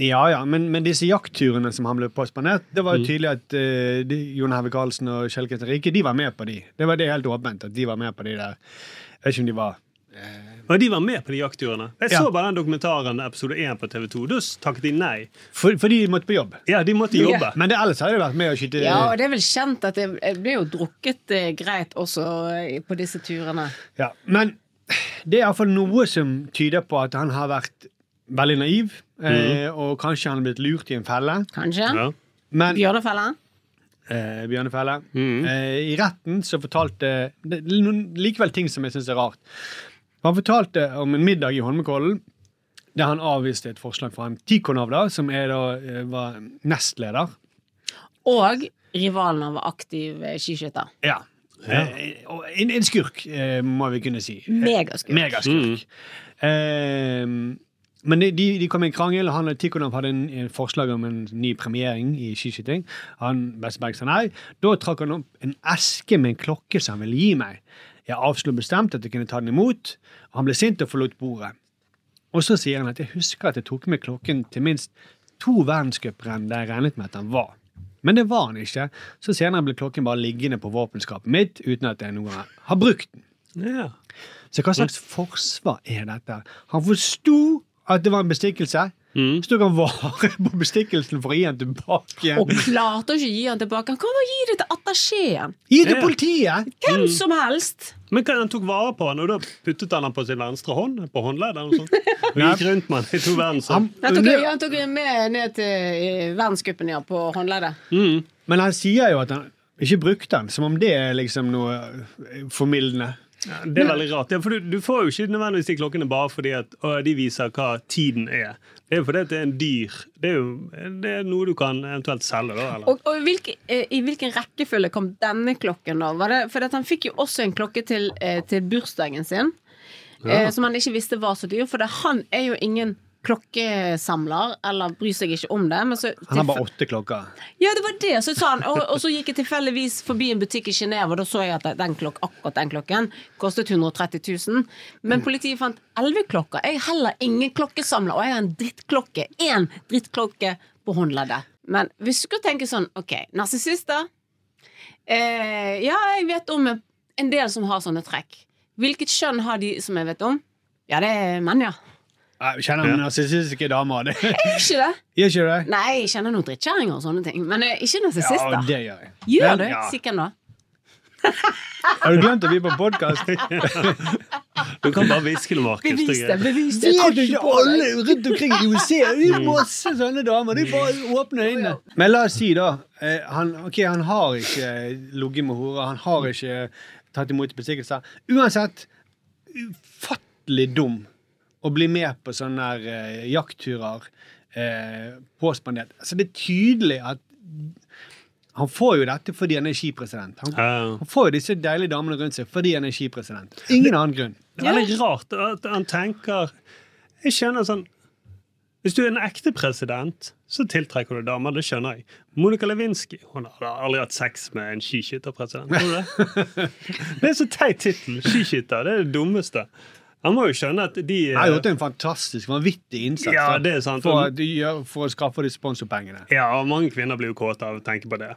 [SPEAKER 5] Ja, ja, men, men disse jaktturene som han ble påspandert, det var jo
[SPEAKER 7] Mm.
[SPEAKER 5] tydelig at eh, de, Jon Heve Karlsen og Kjell Kristian Rike de var med på de. Det var det helt åpent at de var med på de der. Jeg vet ikke om de var
[SPEAKER 7] Og de var med på de jaktturene. Jeg så
[SPEAKER 5] Ja.
[SPEAKER 7] bare den dokumentaren episode 1 på TV 2. Da takket de nei.
[SPEAKER 5] For, for de måtte på jobb.
[SPEAKER 7] Ja, de måtte jobbe.
[SPEAKER 6] Ja.
[SPEAKER 5] Men det, ellers har de vært med å skyte
[SPEAKER 6] Ja, og det er vel kjent at det eh, blir jo drukket eh, greit også eh, på disse turene.
[SPEAKER 5] Ja, Men det er iallfall noe som tyder på at han har vært veldig naiv, eh, og kanskje han har blitt lurt i en felle.
[SPEAKER 6] Kanskje. Ja.
[SPEAKER 5] Men,
[SPEAKER 6] Bjørnefellen?
[SPEAKER 5] eh, Bjørnefelle. Eh, I retten så fortalte det, er noen- Likevel ting som jeg syns er rart. Han fortalte om en middag i Holmenkollen der han avviste et forslag fra en Tikonavda, som er da, eh, var nestleder.
[SPEAKER 6] Og rivalen han var aktiv eh, skiskytter.
[SPEAKER 5] Ja. Eh, og en, en skurk, eh, må vi kunne si.
[SPEAKER 6] Megaskurk.
[SPEAKER 5] Megaskurk. Eh, Mm. men de, de, de kom i en krangel, og han og Tikhonov hadde en, en forslag om en ny premiering i skiskyting. Han Westberg sa nei. Da trakk han opp en eske med en klokke som han ville gi meg. Jeg avslo bestemt at jeg kunne ta den imot, og han ble sint og forlot bordet. Og så sier han at jeg husker at jeg tok med klokken til minst to verdenscuprenn der jeg regnet med at han var. Men det var han ikke, så senere ble klokken bare liggende på våpenskapet mitt uten at jeg noen gang har brukt den.
[SPEAKER 7] Ja.
[SPEAKER 5] Så hva slags forsvar er dette? Han forsto at det var en bestikkelse, så tok han vare på bestikkelsen for å gi den tilbake
[SPEAKER 6] Og
[SPEAKER 5] igjen.
[SPEAKER 6] klarte å ikke gi han tilbake. Han kom og gi det til attachéen.
[SPEAKER 5] Gi det til politiet!
[SPEAKER 6] Hvem som helst.
[SPEAKER 7] Men hva, han tok vare på han, og da puttet han han på sin venstre hånd? På håndleddet? eller noe sånt. Og gikk rundt med han i to verden sånn.
[SPEAKER 6] Han tok, han tok med ned til eh, verdenscupen ja, på håndleddet.
[SPEAKER 5] Men han sier jo at han ikke brukte den, som om det er liksom noe eh, formildende.
[SPEAKER 7] Det er veldig rart. Ja, for du, du får jo ikke nødvendigvis de klokkene bare fordi at å, de viser hva tiden er. Det er jo fordi at det er en dyr. Det er jo det er noe du kan eventuelt selge, da. Eller?
[SPEAKER 6] Og, og i, hvilke, eh, i hvilken rekkefølge kom denne klokken, da? Var det, for at han fikk jo også en klokke til, eh, til bursdagen sin,
[SPEAKER 7] Ja.
[SPEAKER 6] eh, som han ikke visste var så dyr. For det, han er jo ingen klokkesamler, eller bryr seg ikke om det. Men så
[SPEAKER 5] Han har bare åtte klokker.
[SPEAKER 6] Ja, det var det. Så sa han, og, og så gikk jeg tilfeldigvis forbi en butikk i Genève, og da så jeg at den klok, akkurat den klokken kostet 130 000. Men politiet fant elleve klokker. Jeg er heller ingen klokkesamler, og jeg har en drittklokke. Én drittklokke på håndleddet. Men hvis du skulle tenke sånn, OK, narsissister eh, Ja, jeg vet om en- en del som har sånne trekk. Hvilket kjønn har de som jeg vet om? Ja, det er menn, ja.
[SPEAKER 5] Jeg kjenner noen narsissistiske damer. Det.
[SPEAKER 6] Er du ikke det?
[SPEAKER 5] Gjør ikke det?
[SPEAKER 6] Nei, jeg kjenner noen drittkjerringer og sånne ting. Men eh, ikke narsissister.
[SPEAKER 5] Ja, det gjør jeg. Men-
[SPEAKER 6] Gjør du?
[SPEAKER 5] Ja.
[SPEAKER 6] Sikkert nå.
[SPEAKER 5] Har du glemt at vi er på podkast?
[SPEAKER 7] Du kan bare hviske det, Markus.
[SPEAKER 5] Bevis
[SPEAKER 7] er greit.
[SPEAKER 6] bevis
[SPEAKER 5] det. Jeg tror ikke alle rundt omkring i USA Det er masse sånne damer. De bare åpner øynene. Men la oss si, da eh, han, Ok, han har ikke ligget med horer. Han har ikke tatt imot bestikkelser. Uansett, ufattelig dum å bli med på sånne her, eh, jaktturer eh, påspandert. Altså, det er tydelig at han får jo dette fordi han er skipresident. Han, han får jo disse deilige damene rundt seg fordi han er skipresident. Ingen annen grunn.
[SPEAKER 7] Det er veldig rart at han tenker Jeg skjønner sånn Hvis du er en ekte president, så tiltrekker du damer. Det skjønner jeg. Monica Lewinsky hun har aldri hatt sex med en skiskytterpresident. har hun Det? det er så teit tittel. Skiskytter. Det er det dummeste. Han må jo skjønne at de
[SPEAKER 5] Han har gjort en fantastisk, vanvittig innsats
[SPEAKER 7] Ja,
[SPEAKER 5] for-
[SPEAKER 7] det er sant.
[SPEAKER 5] For, at de gjør, for å skaffe de sponsorpengene.
[SPEAKER 7] Ja, og mange kvinner blir jo kåte av å tenke på det.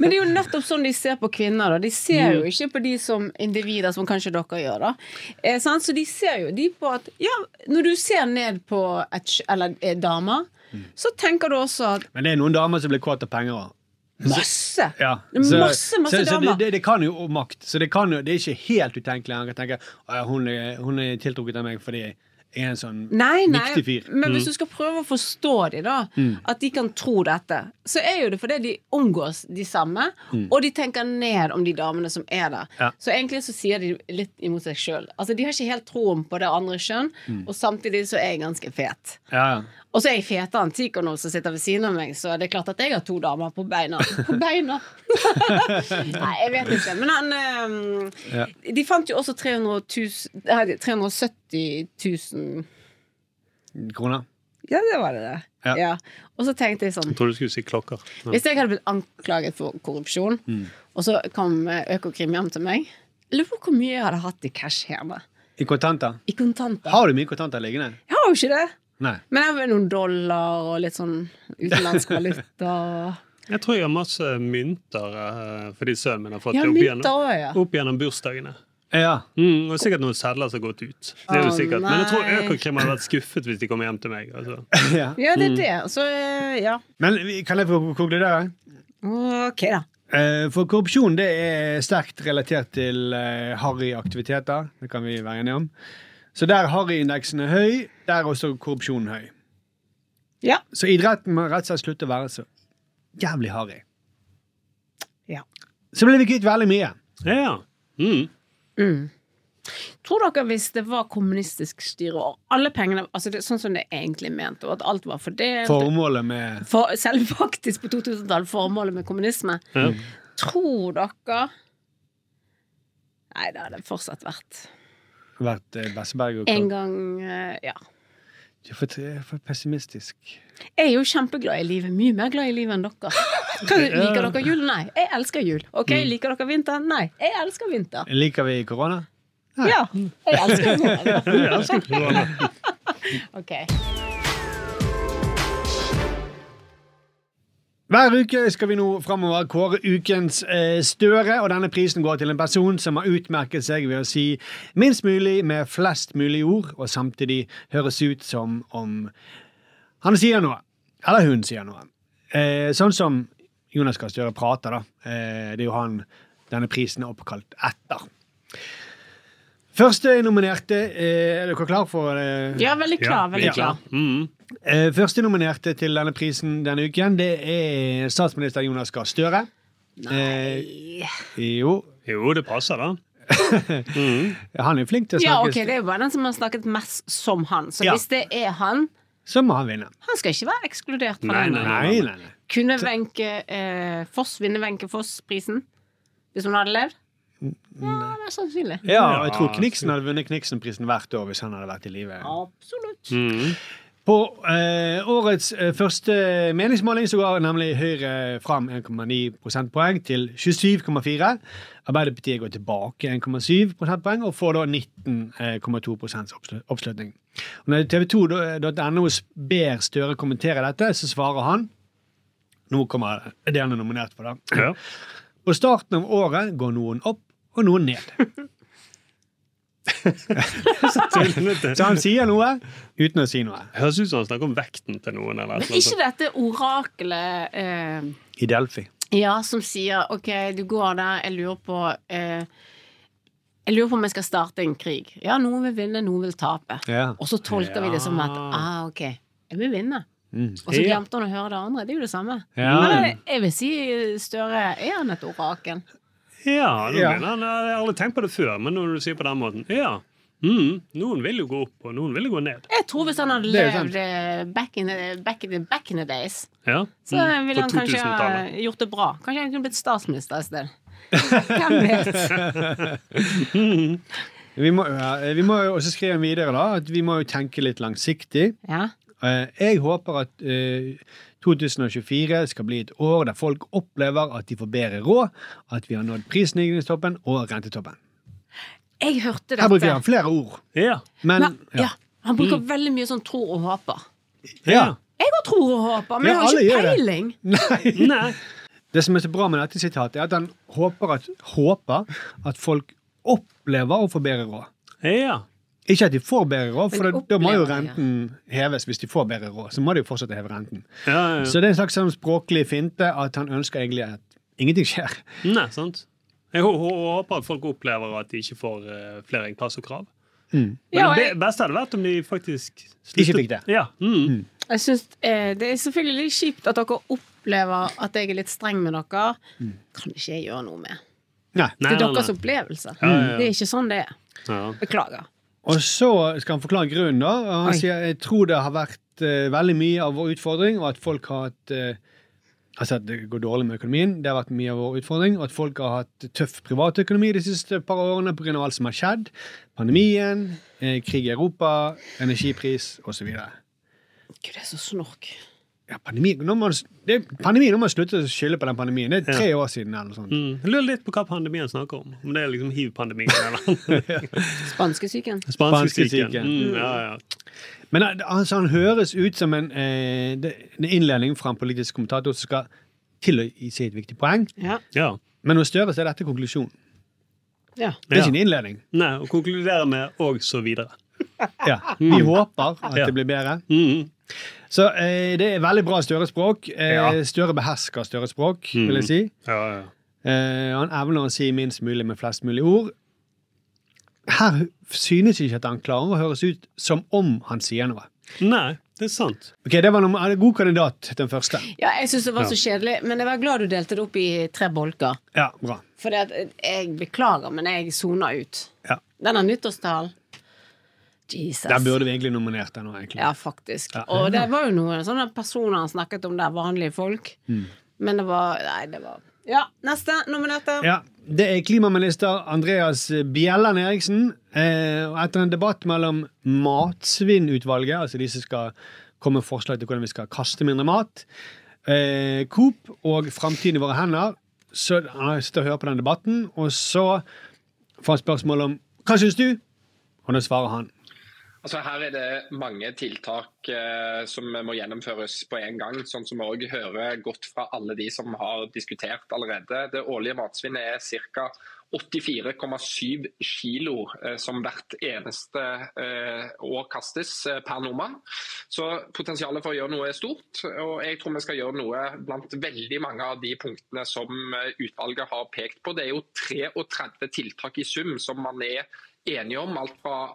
[SPEAKER 6] Men det er jo nettopp sånn de ser på kvinner. Da. De ser jo
[SPEAKER 7] Mm.
[SPEAKER 6] ikke på de som individer, som kanskje dere gjør. Da. Eh, sant? Så de ser jo de på at Ja, når du ser ned på et, kj- eller, eh, damer,
[SPEAKER 5] Mm.
[SPEAKER 6] så tenker du også at
[SPEAKER 5] Men det er noen damer som blir kåt av penger òg.
[SPEAKER 6] Masse!
[SPEAKER 5] Ja.
[SPEAKER 6] Masse, masse
[SPEAKER 5] så, så
[SPEAKER 6] damer.
[SPEAKER 5] det, det, det kan jo og makt. Så det, kan jo, det er ikke helt utenkelig. Han kan tenke «Å, ja, hun er, hun er tiltrukket av meg fordi jeg er en sånn
[SPEAKER 6] Nei, nei,
[SPEAKER 5] viktig fyr.
[SPEAKER 6] men hvis du skal prøve å forstå de da,
[SPEAKER 5] Mm.
[SPEAKER 6] at de kan tro dette, så er jo det fordi de omgås de samme,
[SPEAKER 5] Mm.
[SPEAKER 6] og de tenker ned om de damene som er der.
[SPEAKER 5] Ja.
[SPEAKER 6] Så egentlig så sier de litt imot seg sjøl. Altså, de har ikke helt troen på det andre kjønn,
[SPEAKER 5] Mm.
[SPEAKER 6] og samtidig så er jeg ganske fet.
[SPEAKER 5] Ja, ja.
[SPEAKER 6] Og så er jeg fetere enn Tikonov som sitter ved siden av meg, så det er klart at jeg har to damer på beina. På beina! Nei, jeg vet ikke. Men han øhm,
[SPEAKER 5] Ja.
[SPEAKER 6] De fant jo også 300 000, nei, 370 000
[SPEAKER 5] Kroner.
[SPEAKER 6] Ja, det var det. det.
[SPEAKER 5] Ja.
[SPEAKER 6] Ja. Og så tenkte jeg sånn
[SPEAKER 7] Jeg trodde du skulle si klokker. Ja.
[SPEAKER 6] Hvis jeg hadde blitt anklaget for korrupsjon,
[SPEAKER 7] Mm.
[SPEAKER 6] og så kom eh, Økokrim hjem til meg jeg Lurer på hvor mye jeg hadde hatt i cash hjemme.
[SPEAKER 5] I kontanter.
[SPEAKER 6] I kontanter.
[SPEAKER 5] Har du mye kontanter liggende?
[SPEAKER 6] Jeg har jo ikke det.
[SPEAKER 5] Nei.
[SPEAKER 6] Men jeg har noen dollar og litt sånn utenlandsk valuta.
[SPEAKER 7] Jeg tror jeg har masse mynter eh, fordi sønnen min har fått
[SPEAKER 6] Ja,
[SPEAKER 7] det opp
[SPEAKER 6] mynter
[SPEAKER 7] gjennom,
[SPEAKER 6] også, ja.
[SPEAKER 7] opp gjennom bursdagene.
[SPEAKER 5] Ja.
[SPEAKER 7] Mm, og sikkert noen sedler som har gått ut. Det er jo
[SPEAKER 6] Å,
[SPEAKER 7] sikkert. Men jeg tror
[SPEAKER 6] nei.
[SPEAKER 7] Økokrim hadde vært skuffet hvis de kom hjem til meg. Altså.
[SPEAKER 6] Ja, det
[SPEAKER 7] Mm.
[SPEAKER 6] er det. Så eh, ja.
[SPEAKER 5] Men vi- kan jeg få konkludere?
[SPEAKER 6] OK, da.
[SPEAKER 5] Eh, For korrupsjon det er sterkt relatert til eh, harryaktiviteter. Det kan vi være enige om. Så der harryindeksen er høy, der er også korrupsjonen høy.
[SPEAKER 6] Ja.
[SPEAKER 5] Så idretten må rett og slett slutte å være så jævlig harry.
[SPEAKER 6] Ja.
[SPEAKER 5] Så ble vi kvitt veldig mye.
[SPEAKER 7] Ja.
[SPEAKER 6] Mm. Tror dere hvis det var kommunistisk styre og alle pengene altså det, Sånn som det er egentlig ment, og at alt var fordelt
[SPEAKER 5] Formålet med
[SPEAKER 6] for, Selv faktisk på 2000-tallet, formålet med kommunisme.
[SPEAKER 5] ja.
[SPEAKER 6] Tror dere Nei, det hadde fortsatt vært
[SPEAKER 5] vært eh, Besseberg og
[SPEAKER 6] en gang eh, Ja.
[SPEAKER 5] Du er for, du er for pessimistisk.
[SPEAKER 6] Jeg er jo kjempeglad i livet. Mye mer glad i livet enn dere. Hva, liker dere jul? Nei. Jeg elsker jul. Ok,
[SPEAKER 5] Mm.
[SPEAKER 6] Liker dere vinter? Nei. Jeg elsker vinter.
[SPEAKER 5] Liker vi korona?
[SPEAKER 6] Ja. Jeg elsker
[SPEAKER 5] Jeg elsker
[SPEAKER 6] korona. ok.
[SPEAKER 5] Hver uke skal vi nå framover kåre ukens eh, Støre, og denne prisen går til en person som har utmerket seg ved å si minst mulig med flest mulig ord, og samtidig høres ut som om han sier noe. Eller hun sier noe. Eh, sånn som Jonas Gahr Støre prater, da. Eh, det er jo han denne prisen er oppkalt etter. Første nominerte eh, Er dere klar for eh?
[SPEAKER 6] Ja, veldig klar, veldig klar.
[SPEAKER 5] Eh, Første nominerte til denne prisen denne uken, det er statsminister Jonas Gahr Støre. Nei Jo.
[SPEAKER 7] Jo, det passer, da.
[SPEAKER 5] Han er flink til å
[SPEAKER 6] Ja,
[SPEAKER 5] snakke,
[SPEAKER 6] ok, Det er jo bare den som har snakket mest som han. Så
[SPEAKER 5] Ja.
[SPEAKER 6] hvis det er han
[SPEAKER 5] så må han vinne.
[SPEAKER 6] Han skal ikke være ekskludert fra
[SPEAKER 5] Nei,
[SPEAKER 6] den.
[SPEAKER 5] nei, nei. nei, nei.
[SPEAKER 6] Kunne Wenche eh, Foss vinne Wenche Foss-prisen? Hvis hun hadde levd?
[SPEAKER 5] Mm,
[SPEAKER 6] Ja, det er sannsynlig.
[SPEAKER 5] Ja, og jeg tror Kniksen hadde vunnet Kniksen-prisen hvert år hvis han hadde vært i live.
[SPEAKER 6] Absolutt.
[SPEAKER 5] På eh, årets eh, første meningsmåling så går nemlig Høyre fram 1,9 prosentpoeng til 27,4. Arbeiderpartiet går tilbake 1,7 prosentpoeng og får da 19,2 prosents oppslu- oppslutning. Og når eh, tv2.no ber Støre kommentere dette, så svarer han Nå kommer det han er nominert for, da. På starten av året går noen opp og noen ned. Så han sier noe uten å si noe.
[SPEAKER 7] Høres ut som han snakker om vekten til noen. eller et
[SPEAKER 6] Men
[SPEAKER 7] eller annet
[SPEAKER 6] ikke dette orakelet eh,
[SPEAKER 5] I Delphi.
[SPEAKER 6] ja, som sier OK, du går der, jeg lurer på eh, Jeg lurer på om jeg skal starte en krig. Ja, noen vil vinne, noen vil tape.
[SPEAKER 5] Ja.
[SPEAKER 6] Og så tolker vi det som at ah, OK, jeg vil vinne.
[SPEAKER 5] Mm.
[SPEAKER 6] Og så glemte han å høre det andre. Det er jo det samme.
[SPEAKER 5] Ja.
[SPEAKER 6] Men jeg vil si Støre er han et orakel.
[SPEAKER 7] Ja, nå
[SPEAKER 6] Ja.
[SPEAKER 7] mener han, jeg har aldri tenkt på det før, men når du sier på den måten Ja, mm, noen vil jo gå opp, og noen vil jo gå ned.
[SPEAKER 6] Jeg tror hvis han hadde
[SPEAKER 7] Det er jo
[SPEAKER 6] levd eh, back in, the, back, in the, back in the days,
[SPEAKER 7] Ja.
[SPEAKER 6] så
[SPEAKER 7] mm, på
[SPEAKER 6] ville han kanskje ha
[SPEAKER 7] 2000-tallet.
[SPEAKER 6] gjort det bra. Kanskje han kunne blitt statsminister i stedet. Hvem vet?
[SPEAKER 5] Vi må, ja, vi må jo også skrive videre da, at vi må jo tenke litt langsiktig. Eh, Jeg håper at eh, 2024 skal bli et år der folk opplever at de får bedre råd, at vi har nådd prisstigningstoppen og rentetoppen.
[SPEAKER 6] Jeg hørte
[SPEAKER 5] Her bruker
[SPEAKER 6] dette.
[SPEAKER 5] han flere ord. Men,
[SPEAKER 6] Men, ja. Han bruker
[SPEAKER 5] Mm.
[SPEAKER 6] veldig mye sånn tror og håper.
[SPEAKER 5] ja.
[SPEAKER 6] Jeg òg tror og håper, men
[SPEAKER 5] Ja,
[SPEAKER 6] jeg har
[SPEAKER 5] alle gjør
[SPEAKER 6] ikke
[SPEAKER 5] det.
[SPEAKER 6] peiling.
[SPEAKER 5] Det som er så bra med dette sitatet, er at han håper at, håper at folk opplever å få bedre råd. Ikke at de får bedre råd, for
[SPEAKER 7] Men
[SPEAKER 5] da, da må jo
[SPEAKER 7] opplever, ja.
[SPEAKER 5] renten heves hvis de får bedre råd. Så må de jo fortsette å heve renten.
[SPEAKER 7] Ja, ja, ja.
[SPEAKER 5] Så det er en slags sånn språklig finte at han ønsker egentlig at ingenting skjer.
[SPEAKER 7] Nei, sant. Jeg hå- hå- håper at folk opplever at de ikke får eh, flere inkasokrav.
[SPEAKER 5] Mm.
[SPEAKER 7] Men
[SPEAKER 6] Ja, og
[SPEAKER 7] det
[SPEAKER 6] jeg-
[SPEAKER 7] be- beste hadde vært om de faktisk
[SPEAKER 5] Ikke fikk det.
[SPEAKER 7] Ja. Mm.
[SPEAKER 6] Jeg synes, eh, det er selvfølgelig kjipt at dere opplever at jeg er litt streng med dere.
[SPEAKER 7] Mm.
[SPEAKER 6] Kan ikke jeg gjøre noe med.
[SPEAKER 5] Nei.
[SPEAKER 6] Det er deres opplevelse.
[SPEAKER 5] Ja, ja, ja.
[SPEAKER 6] Det er ikke sånn det er. Beklager.
[SPEAKER 5] Og så skal han forklare grunnen, da. Og han
[SPEAKER 6] Oi.
[SPEAKER 5] sier jeg tror det har vært eh, veldig mye av vår utfordring, og at folk har hatt eh, Altså at det går dårlig med økonomien, det har vært mye av vår utfordring. Og at folk har hatt tøff privatøkonomi de siste par årene pga. alt som har skjedd. Pandemien, eh, krig i Europa, energipris osv.
[SPEAKER 6] Gud, det er så snork.
[SPEAKER 5] Ja, pandemien nå må, det, pandemien, nå må man slutte å skylde på den pandemien. Det er tre år siden. eller noe sånt.
[SPEAKER 7] Mm. Jeg lurer litt på hva pandemien snakker om. Om det er liksom hiv-pandemien eller Spanskesyken.
[SPEAKER 6] Spanskesyken.
[SPEAKER 5] Spanskesyken.
[SPEAKER 7] Mm, ja, ja.
[SPEAKER 5] Men eh, altså, han høres ut som en, eh, det- en innledning fra en politisk kommentator som skal til å gi seg et viktig poeng.
[SPEAKER 6] Ja.
[SPEAKER 5] Men hos Støre så er dette konklusjonen.
[SPEAKER 6] Ja.
[SPEAKER 5] Det er ikke en innledning.
[SPEAKER 7] Nei, og konkludere med 'og så videre'.
[SPEAKER 5] Ja, Vi
[SPEAKER 7] Mm.
[SPEAKER 5] håper at
[SPEAKER 7] Ja.
[SPEAKER 5] det blir bedre.
[SPEAKER 7] Mm.
[SPEAKER 5] Så eh, det er veldig bra Støre-språk. Eh, Støre behersker Støre-språk, vil jeg si. Eh, han evner å si minst mulig med flest mulig ord. Her synes ikke at han klarer å høres ut som om han sier noe.
[SPEAKER 7] Nei, det er sant.
[SPEAKER 5] Ok, Det var noen, en god kandidat, den første.
[SPEAKER 6] Ja, jeg syns det var så
[SPEAKER 5] Ja.
[SPEAKER 6] kjedelig, men jeg var glad du delte det opp i tre bolker.
[SPEAKER 5] Ja, bra.
[SPEAKER 6] For jeg beklager, men jeg soner ut.
[SPEAKER 5] Ja.
[SPEAKER 6] Denne nyttårstalen Jesus.
[SPEAKER 5] Der burde vi egentlig nominert den nå, egentlig.
[SPEAKER 6] Ja, faktisk.
[SPEAKER 5] Ja.
[SPEAKER 6] Og det var jo noen sånne personer han snakket om der, vanlige folk.
[SPEAKER 5] Mm.
[SPEAKER 6] Men det var Nei, det var Ja, neste nominerte.
[SPEAKER 5] Ja, det er klimaminister Andreas Bjelland Eriksen. Eh, og etter en debatt mellom Matsvinnutvalget, altså de som skal komme med forslag til hvordan vi skal kaste mindre mat, eh, Coop og Framtiden i våre hender, så han sitter og hører på den debatten, og så får han spørsmål om hva syns du? Og da svarer han.
[SPEAKER 13] Altså Her er det mange tiltak eh, som må gjennomføres på en gang. Sånn som vi også hører godt fra alle de som har diskutert allerede. Det årlige matsvinnet er ca. 84,7 kilo eh, som hvert eneste eh, år kastes eh, per nordmann. Så potensialet for å gjøre noe er stort. Og jeg tror vi skal gjøre noe blant veldig mange av de punktene som eh, utvalget har pekt på. Det er jo 33 tiltak i sum som man er enige om. Alt fra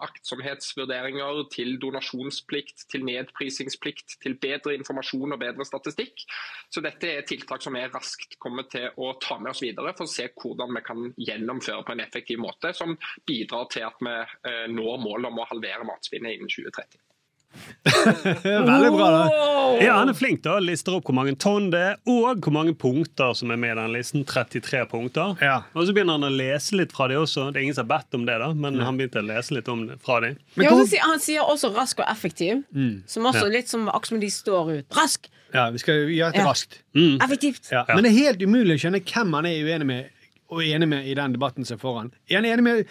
[SPEAKER 13] aktsomhetsvurderinger til donasjonsplikt, til nedprisingsplikt, til bedre informasjon og bedre statistikk. Så dette er tiltak som vi raskt kommer til å ta med oss videre, for å se hvordan vi kan gjennomføre på en effektiv måte som bidrar til at vi eh, når målet om å halvere matsvinnet innen 2030.
[SPEAKER 5] Veldig bra, da.
[SPEAKER 7] Ja, han er flink, da. Lister opp hvor mange tonn det er, og hvor mange punkter som er med i den listen. 33 punkter. Og så begynner han å lese litt fra de også. Det er ingen som har bedt om det, da, men han begynte å lese litt om det fra de.
[SPEAKER 6] Ja, og så sier- han sier også rask og effektiv,
[SPEAKER 7] Mm.
[SPEAKER 6] som også
[SPEAKER 7] Ja.
[SPEAKER 6] litt som akkurat som de står ut. Rask!
[SPEAKER 5] Ja, vi skal gjøre det
[SPEAKER 6] Ja.
[SPEAKER 5] raskt.
[SPEAKER 6] Effektivt.
[SPEAKER 5] Mm. Ja. Men det er helt umulig å skjønne hvem han er uenig med, og enig med i den debatten som er foran. Er han enig med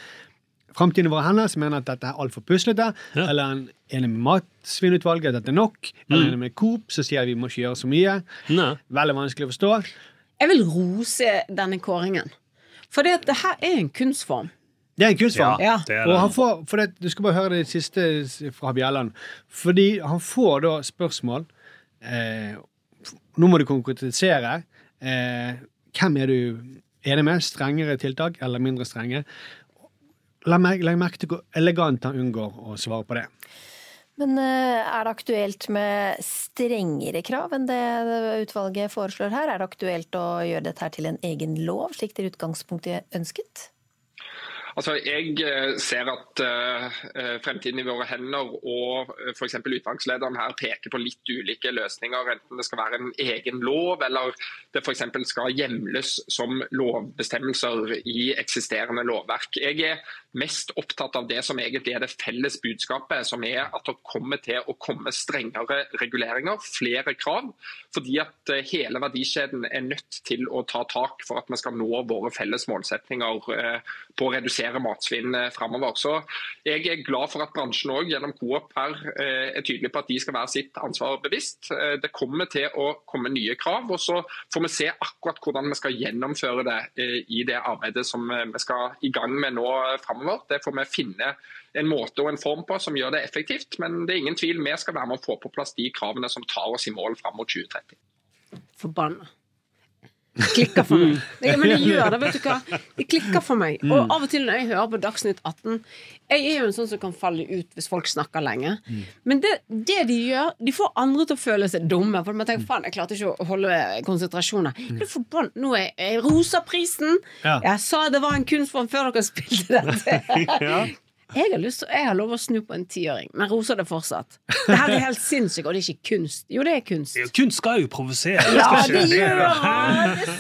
[SPEAKER 5] Framtiden vår hennes mener at dette er altfor puslete. Eller er han enig med Matsvinnutvalget, at dette er nok. Eller er han enig med Coop, som sier vi må ikke gjøre så mye. Veldig vanskelig å forstå.
[SPEAKER 6] Jeg vil rose denne kåringen. For det, at det her er en kunstform.
[SPEAKER 5] Det er en kunstform.
[SPEAKER 6] Ja, det er det.
[SPEAKER 5] Og han får, for det, du skal bare høre det siste s- fra Bjelland. Fordi han får da spørsmål eh, f- Nå må du konkretisere. Eh, hvem er du enig med? Strengere tiltak eller mindre strenge? La meg, legg merke til hvor elegant han unngår å svare på det.
[SPEAKER 14] Men eh, er det aktuelt med strengere krav enn det eh, utvalget foreslår her? Er det aktuelt å gjøre dette her til en egen lov, slik det i utgangspunktet ønsket?
[SPEAKER 13] Altså, Jeg eh, ser at eh, eh, fremtiden i våre hender og eh, for eksempel utvalgslederen her peker på litt ulike løsninger, enten det skal være en egen lov eller det for eksempel skal hjemles som lovbestemmelser i eksisterende lovverk. Jeg er mest opptatt av det som egentlig er det felles budskapet, som er at det kommer til å komme strengere reguleringer, flere krav, fordi at eh, hele verdikjeden er nødt til å ta tak for at vi skal nå våre felles målsetninger eh, på å redusere matsvinn eh, fremover. Så jeg er glad for at bransjen også gjennom Coop her eh, er tydelig på at de skal være sitt ansvar bevisst. Eh, Det kommer til å komme nye krav, og så får vi se akkurat hvordan vi skal gjennomføre det eh, i det arbeidet som eh, vi skal i gang med nå fremover. Det får vi finne en måte og en form på som gjør det effektivt, men det er ingen tvil vi skal være med å få på plass de kravene som tar oss i mål frem mot 2030.
[SPEAKER 6] Forbanna. Klikker for meg. Ja, men det gjør det, vet du hva. Det klikker for meg.
[SPEAKER 15] Mm.
[SPEAKER 6] Og av og til når jeg hører på Dagsnytt 18 Jeg er jo en sånn som kan falle ut hvis folk snakker lenge.
[SPEAKER 15] Mm.
[SPEAKER 6] Men det, det de gjør, de får andre til å føle seg dumme. For man tenker, faen, jeg klarte ikke å holde konsentrasjonen. Mm. Forbann, nå er jeg rosa prisen!
[SPEAKER 15] Ja.
[SPEAKER 6] Jeg sa det var en kunstform før dere spilte dette!
[SPEAKER 15] Ja.
[SPEAKER 6] Jeg har, lyst til, jeg har lov å snu på en tiåring, men roser det fortsatt. Det her er helt sinnssykt, og det er ikke kunst. Jo, det er kunst.
[SPEAKER 7] Kunst skal jo provosere.
[SPEAKER 6] Ja,
[SPEAKER 7] skal
[SPEAKER 6] det
[SPEAKER 7] ikke
[SPEAKER 6] gjør
[SPEAKER 7] da.
[SPEAKER 6] han! Det er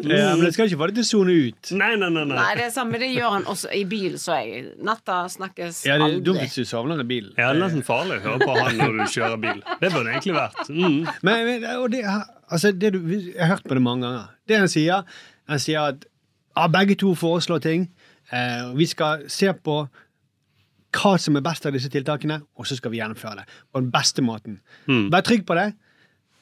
[SPEAKER 5] Ja, Eh, men det sånn, skal ikke få det til å sone
[SPEAKER 6] Mm.
[SPEAKER 5] ut.
[SPEAKER 7] Nei, nei, nei.
[SPEAKER 6] Nei, det er sant, men det gjør han også i bil, så jeg. Natta snakkes
[SPEAKER 5] Ja, det er dumt
[SPEAKER 6] aldri.
[SPEAKER 5] hvis du sovner i bilen.
[SPEAKER 7] Ja, det er nesten farlig å høre på han når du kjører bil. Det burde det egentlig vært. Mm.
[SPEAKER 5] Men, men og det, altså, det du, Jeg har hørt på det mange ganger. Det han sier, han sier at ja, begge to foreslår ting. Eh, og vi skal se på hva som er best av disse tiltakene, og så skal vi gjennomføre det på den beste måten.
[SPEAKER 7] Mm.
[SPEAKER 5] Vær trygg på det.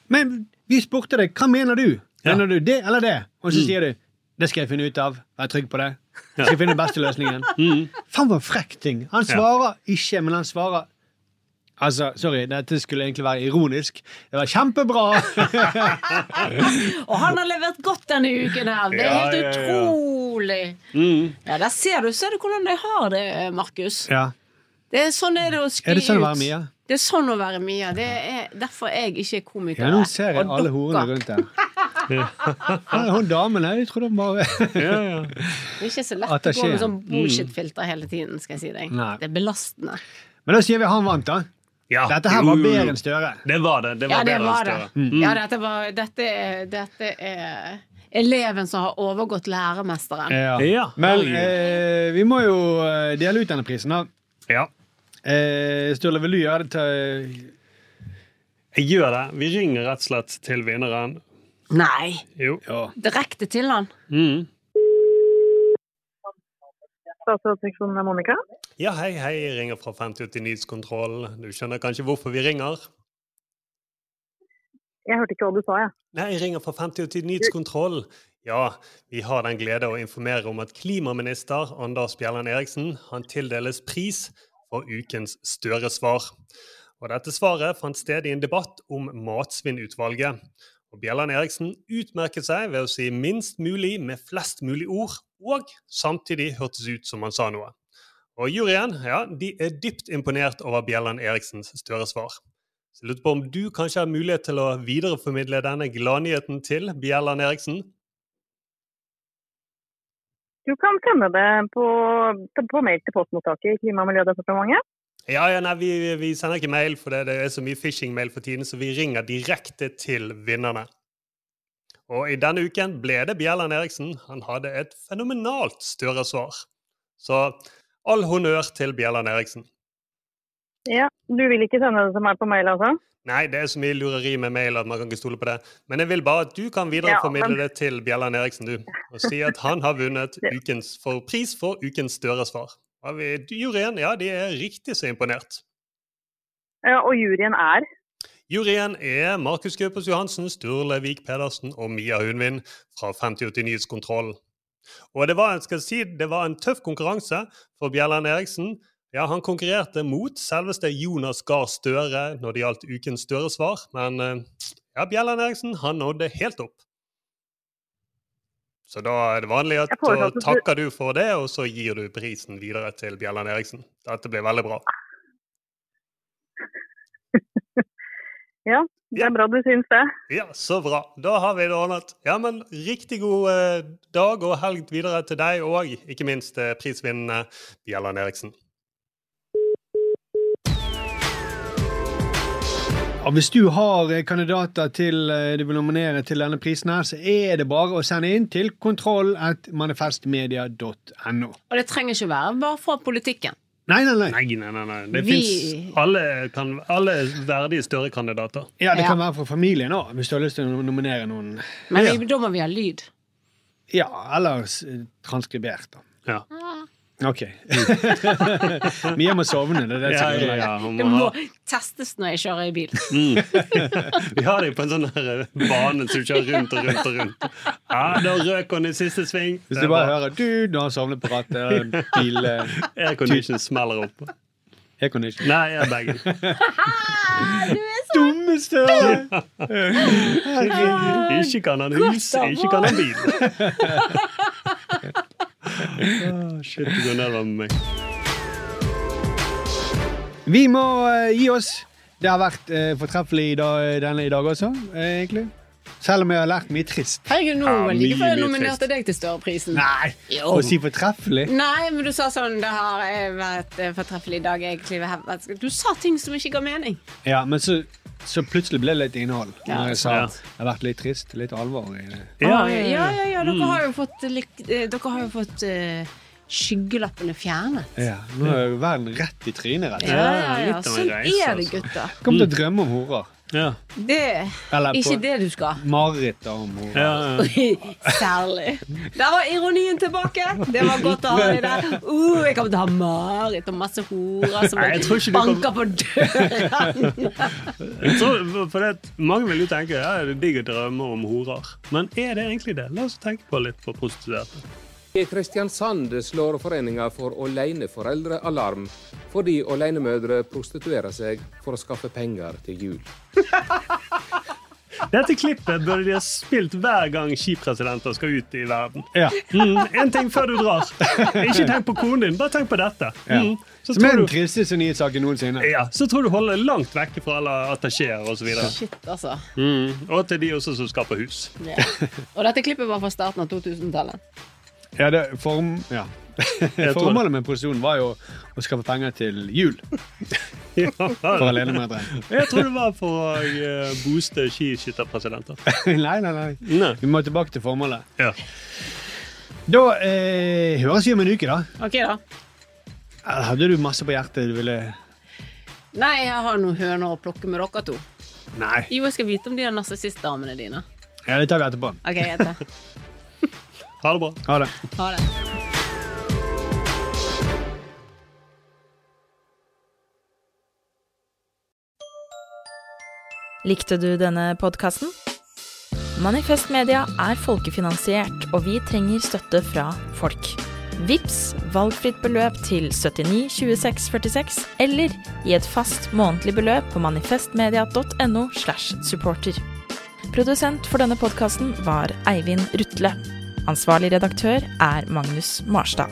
[SPEAKER 5] Men vi spurte deg hva mener du? Mener du det eller det? Og så
[SPEAKER 7] Mm.
[SPEAKER 5] sier du det skal jeg finne ut av. Vær trygg på det. Jeg skal finne den beste løsningen. Faen, for en frekk ting. Han
[SPEAKER 7] Mm. Ja.
[SPEAKER 5] svarer ikke, men han svarer Altså, sorry, dette skulle egentlig være ironisk. Det var kjempebra!
[SPEAKER 6] Og han har levert godt denne uken her. Det er
[SPEAKER 5] Ja,
[SPEAKER 6] helt
[SPEAKER 5] ja, ja.
[SPEAKER 6] utrolig. Ja, der ser du, ser du hvordan jeg har det, eh, Markus.
[SPEAKER 5] Ja.
[SPEAKER 6] Det er sånn er det å skli
[SPEAKER 5] Er det sånn å være
[SPEAKER 6] ut.
[SPEAKER 5] Mia?
[SPEAKER 6] Det er sånn å være Mia. Det er derfor jeg ikke er komiker.
[SPEAKER 5] ja, nå ser jeg
[SPEAKER 6] Og
[SPEAKER 5] alle
[SPEAKER 6] dere-
[SPEAKER 5] horene rundt der. Ja, Hun damen her, jeg trodde hun bare
[SPEAKER 6] Det er ikke så
[SPEAKER 5] At
[SPEAKER 6] lett å
[SPEAKER 5] det
[SPEAKER 6] gå med
[SPEAKER 5] skjer. Mm.
[SPEAKER 6] sånn bullshit-filter hele tiden, skal jeg si deg.
[SPEAKER 5] Nei.
[SPEAKER 6] Det er belastende.
[SPEAKER 5] Men da sier vi han vant, da.
[SPEAKER 7] Ja.
[SPEAKER 5] Dette her
[SPEAKER 7] Jo,
[SPEAKER 5] var
[SPEAKER 7] jo, jo.
[SPEAKER 5] bedre enn Støre.
[SPEAKER 7] Det var det. det var
[SPEAKER 6] ja,
[SPEAKER 7] bedre
[SPEAKER 6] det
[SPEAKER 7] enn
[SPEAKER 6] var det.
[SPEAKER 7] Støre. Mm.
[SPEAKER 6] Ja, dette, var, dette, er, dette er eleven som har overgått læremesteren.
[SPEAKER 7] Ja.
[SPEAKER 5] Men
[SPEAKER 7] Herregud.
[SPEAKER 5] eh, vi må jo eh, dele ut denne prisen, da.
[SPEAKER 7] Ja.
[SPEAKER 5] Eh, Sturle, vil du gjøre det til
[SPEAKER 7] Jeg gjør det. Vi ringer rett og slett til vinneren.
[SPEAKER 6] Nei!
[SPEAKER 7] Jo.
[SPEAKER 6] Direkte til han.
[SPEAKER 7] Mm.
[SPEAKER 16] Statsrådsseksjonen er Monica.
[SPEAKER 7] Ja, hei, hei. Jeg ringer fra 50 til Nyhetskontroll. Du skjønner kanskje hvorfor vi ringer?
[SPEAKER 16] Jeg hørte ikke hva du sa, jeg.
[SPEAKER 7] Nei, jeg ringer fra 50 til Nyhetskontroll. Ja, vi har den glede å informere om at klimaminister Anders Bjelland Eriksen han tildeles pris for ukens Støre-svar. Og dette svaret fant sted i en debatt om Matsvinnutvalget. Og Bjelland Eriksen utmerket seg ved å si minst mulig med flest mulig ord, og samtidig hørtes ut som han sa noe. Og juryen ja, de er dypt imponert over Bjelland Eriksens Støre-svar. Så jeg lurer på om du kanskje har mulighet til å videreformidle denne gladnyheten til Bjelland Eriksen?
[SPEAKER 16] Du kan sende det på, på mail til postmottaket i Klima- og miljødepartementet.
[SPEAKER 7] Ja, ja, nei, vi, vi sender ikke mail, for det, det er så mye phishing-mail for tiden, så vi ringer direkte til vinnerne. Og i denne uken ble det Bjelland Eriksen. Han hadde et fenomenalt Støre-svar. Så all honnør til Bjelland Eriksen.
[SPEAKER 16] Ja, Du vil ikke sende det til meg på mail, altså?
[SPEAKER 7] Nei, det er så mye lureri med mail at man kan ikke stole på det. Men jeg vil bare at du kan videreformidle
[SPEAKER 16] Ja, men-
[SPEAKER 7] det til Bjelland Eriksen, du. Og si at han har vunnet ukens for pris for ukens Støre-svar. Og vi- Juryen, ja, de er riktig så imponert.
[SPEAKER 16] Ja, og juryen er?
[SPEAKER 7] Juryen er Markus Gaupås Johansen, Sturle Vik Pedersen og Mia Hundvin fra 50 til Nyhetskontrollen. Og det var, skal jeg si, det var en tøff konkurranse for Bjelland Eriksen. Ja, Han konkurrerte mot selveste Jonas Gahr Støre når det gjaldt ukens Støre-svar, men eh, ja, Bjelland Eriksen han nådde helt opp. Så da er det vanlig at
[SPEAKER 16] Jeg foreslår
[SPEAKER 7] da
[SPEAKER 16] at du-
[SPEAKER 7] takker du for det, og så gir du prisen videre til Bjelland Eriksen. Dette ble veldig bra.
[SPEAKER 16] Ja, det er bra du syns det.
[SPEAKER 7] Ja, så bra. Da har vi det ordnet. Ja, men riktig god eh, dag og helg videre til deg og ikke minst eh, prisvinnende Bjelland Eriksen.
[SPEAKER 5] Og hvis du har eh, kandidater til eh, du vil nominere til denne prisen her, så er det bare å sende inn til kontroll.manifestmedia.no.
[SPEAKER 6] Og det trenger ikke være bare fra politikken.
[SPEAKER 5] Nei, nei, nei.
[SPEAKER 7] Det
[SPEAKER 6] Vi-
[SPEAKER 7] finnes alle, kan, alle verdige større kandidater.
[SPEAKER 5] Ja, det
[SPEAKER 6] Ja.
[SPEAKER 5] kan være fra familien òg, hvis du har lyst til å nominere noen.
[SPEAKER 6] Men
[SPEAKER 5] ja.
[SPEAKER 6] vi, da må vi ha lyd.
[SPEAKER 5] ja, eller eh, transkribert, da. Ah.
[SPEAKER 7] Ja.
[SPEAKER 5] OK. Mia må sovne, det er det
[SPEAKER 7] Ja,
[SPEAKER 5] som
[SPEAKER 7] ja, ja, hun må
[SPEAKER 6] Det må
[SPEAKER 7] ha-
[SPEAKER 6] testes når jeg kjører i bil.
[SPEAKER 7] Vi har det jo på en sånn her eh, bane som kjører rundt og rundt og rundt. Ja, da røk hun i siste sving.
[SPEAKER 5] Hvis
[SPEAKER 7] Det er
[SPEAKER 5] du bare
[SPEAKER 7] bra.
[SPEAKER 5] hører du, du har sovnet på rattet, bil eh,
[SPEAKER 7] Aircondition smeller opp.
[SPEAKER 5] Aircondition.
[SPEAKER 7] Nei, jeg er begge.
[SPEAKER 5] Dummeste!
[SPEAKER 7] Ikke kan han hus, ikke kan han bil. Å, Shit, du går nedover med meg.
[SPEAKER 5] Vi må eh, gi oss. Det har vært eh, fortreffelig i dag, denne i dag også, eh, egentlig. Selv om jeg har lært mye trist.
[SPEAKER 6] Herregud, nå
[SPEAKER 5] Ja,
[SPEAKER 6] var det like før jeg
[SPEAKER 5] mye, mye
[SPEAKER 6] nominerte
[SPEAKER 5] trist.
[SPEAKER 6] deg til Støre-prisen.
[SPEAKER 5] Nei!
[SPEAKER 6] Jo.
[SPEAKER 5] Å si fortreffelig.
[SPEAKER 6] Nei, men du sa sånn Det har eh, vært eh, fortreffelig i dag. Jeg kliver her. Du sa ting som ikke ga mening.
[SPEAKER 5] Ja, men så, så plutselig ble det litt innhold.
[SPEAKER 6] Ja.
[SPEAKER 5] Når jeg sa
[SPEAKER 6] Ja.
[SPEAKER 5] at det har vært litt trist, litt alvor i det.
[SPEAKER 6] Oi, Ah, ja, ja, ja.
[SPEAKER 7] Mm.
[SPEAKER 6] Dere har jo fått, eh, lik- eh, dere har jo fått eh, skyggelappene fjernet.
[SPEAKER 5] Ja, nå er jo verden rett i trynet, rett
[SPEAKER 6] Ja, ja, ja. Sånn er
[SPEAKER 7] altså.
[SPEAKER 6] det, gutter.
[SPEAKER 5] Jeg kommer til å drømme om horer.
[SPEAKER 6] Det
[SPEAKER 5] Eller
[SPEAKER 6] er
[SPEAKER 5] på-
[SPEAKER 6] ikke det du skal.
[SPEAKER 5] Mareritt om horer.
[SPEAKER 6] Særlig. Der var ironien tilbake. Det var godt å ha deg der. Uh, jeg kommer til å ha mareritt og masse horer som
[SPEAKER 7] Nei, jeg tror ikke du
[SPEAKER 6] banker på døren.
[SPEAKER 7] Jeg tror- for det, at mange vil jo tenke ja, det er digg å drømme om horer. Men er det egentlig det? La oss tenke på litt på prostituerte.
[SPEAKER 15] I Kristiansand slår foreninga for aleneforeldre alarm fordi alenemødre prostituerer seg for å skaffe penger til jul.
[SPEAKER 7] Dette klippet burde de ha spilt hver gang skipresidenter skal ut i verden.
[SPEAKER 5] Ja.
[SPEAKER 7] Mm, en ting før du drar. Ikke tenk på konen din, bare tenk på dette.
[SPEAKER 5] Ja.
[SPEAKER 7] Mm, så,
[SPEAKER 5] Som er
[SPEAKER 7] tror
[SPEAKER 5] den
[SPEAKER 7] du,
[SPEAKER 5] tristeste nyhetssaken noensinne.
[SPEAKER 7] ja, så tror du holder langt vekke fra alle attachéer osv.
[SPEAKER 6] Shit, altså.
[SPEAKER 7] Mm, og til de også som skaper hus.
[SPEAKER 6] Ja. Og dette klippet var fra starten av 2000-tallet.
[SPEAKER 5] Ja, det, form, ja.
[SPEAKER 7] det.
[SPEAKER 5] Formålet med prostitusjon var jo å skaffe penger til jul. For alenemødre.
[SPEAKER 7] Jeg tror det var for å eh, booste skiskytterpresidenter.
[SPEAKER 5] nei, nei, nei, Vi må tilbake til formålet.
[SPEAKER 7] Ja.
[SPEAKER 5] Da eh, høres vi om en uke, da.
[SPEAKER 6] Ok, da.
[SPEAKER 5] Eller Hadde du masse på hjertet du ville
[SPEAKER 6] Nei, jeg har noen høner å plukke med dere to.
[SPEAKER 5] Nei.
[SPEAKER 6] Jo, jeg skal vite om de er narsissistdamene dine.
[SPEAKER 5] Ja, det tar vi etterpå.
[SPEAKER 6] OK, jeg heter det.
[SPEAKER 7] Ha det bra.
[SPEAKER 5] Ha det.
[SPEAKER 6] Ha det.
[SPEAKER 17] Likte du denne podkasten? Manifest Media er folkefinansiert, og vi trenger støtte fra folk. Vips valgfritt beløp til 79 26 46, eller i et fast månedlig beløp på manifestmedia.no. slash supporter. Produsent for denne podkasten var Eivind Rutle. Ansvarlig redaktør er Magnus Marstad.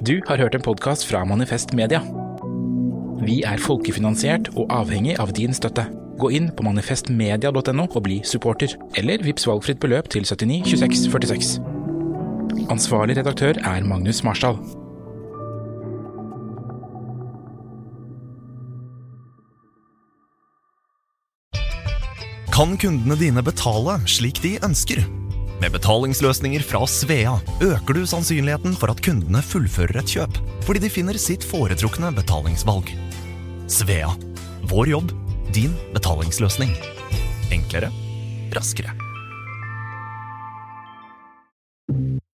[SPEAKER 4] Du har hørt en podkast fra Manifest Media. Vi er folkefinansiert og avhengig av din støtte. Gå inn på manifestmedia.no og bli supporter, eller vips valgfritt beløp til 79 26 46. Ansvarlig redaktør er Magnus Marsdal.
[SPEAKER 3] kan kundene dine betale slik de ønsker. Med betalingsløsninger fra Svea øker du sannsynligheten for at kundene fullfører et kjøp, fordi de finner sitt foretrukne betalingsvalg. Svea vår jobb, din betalingsløsning. Enklere, raskere.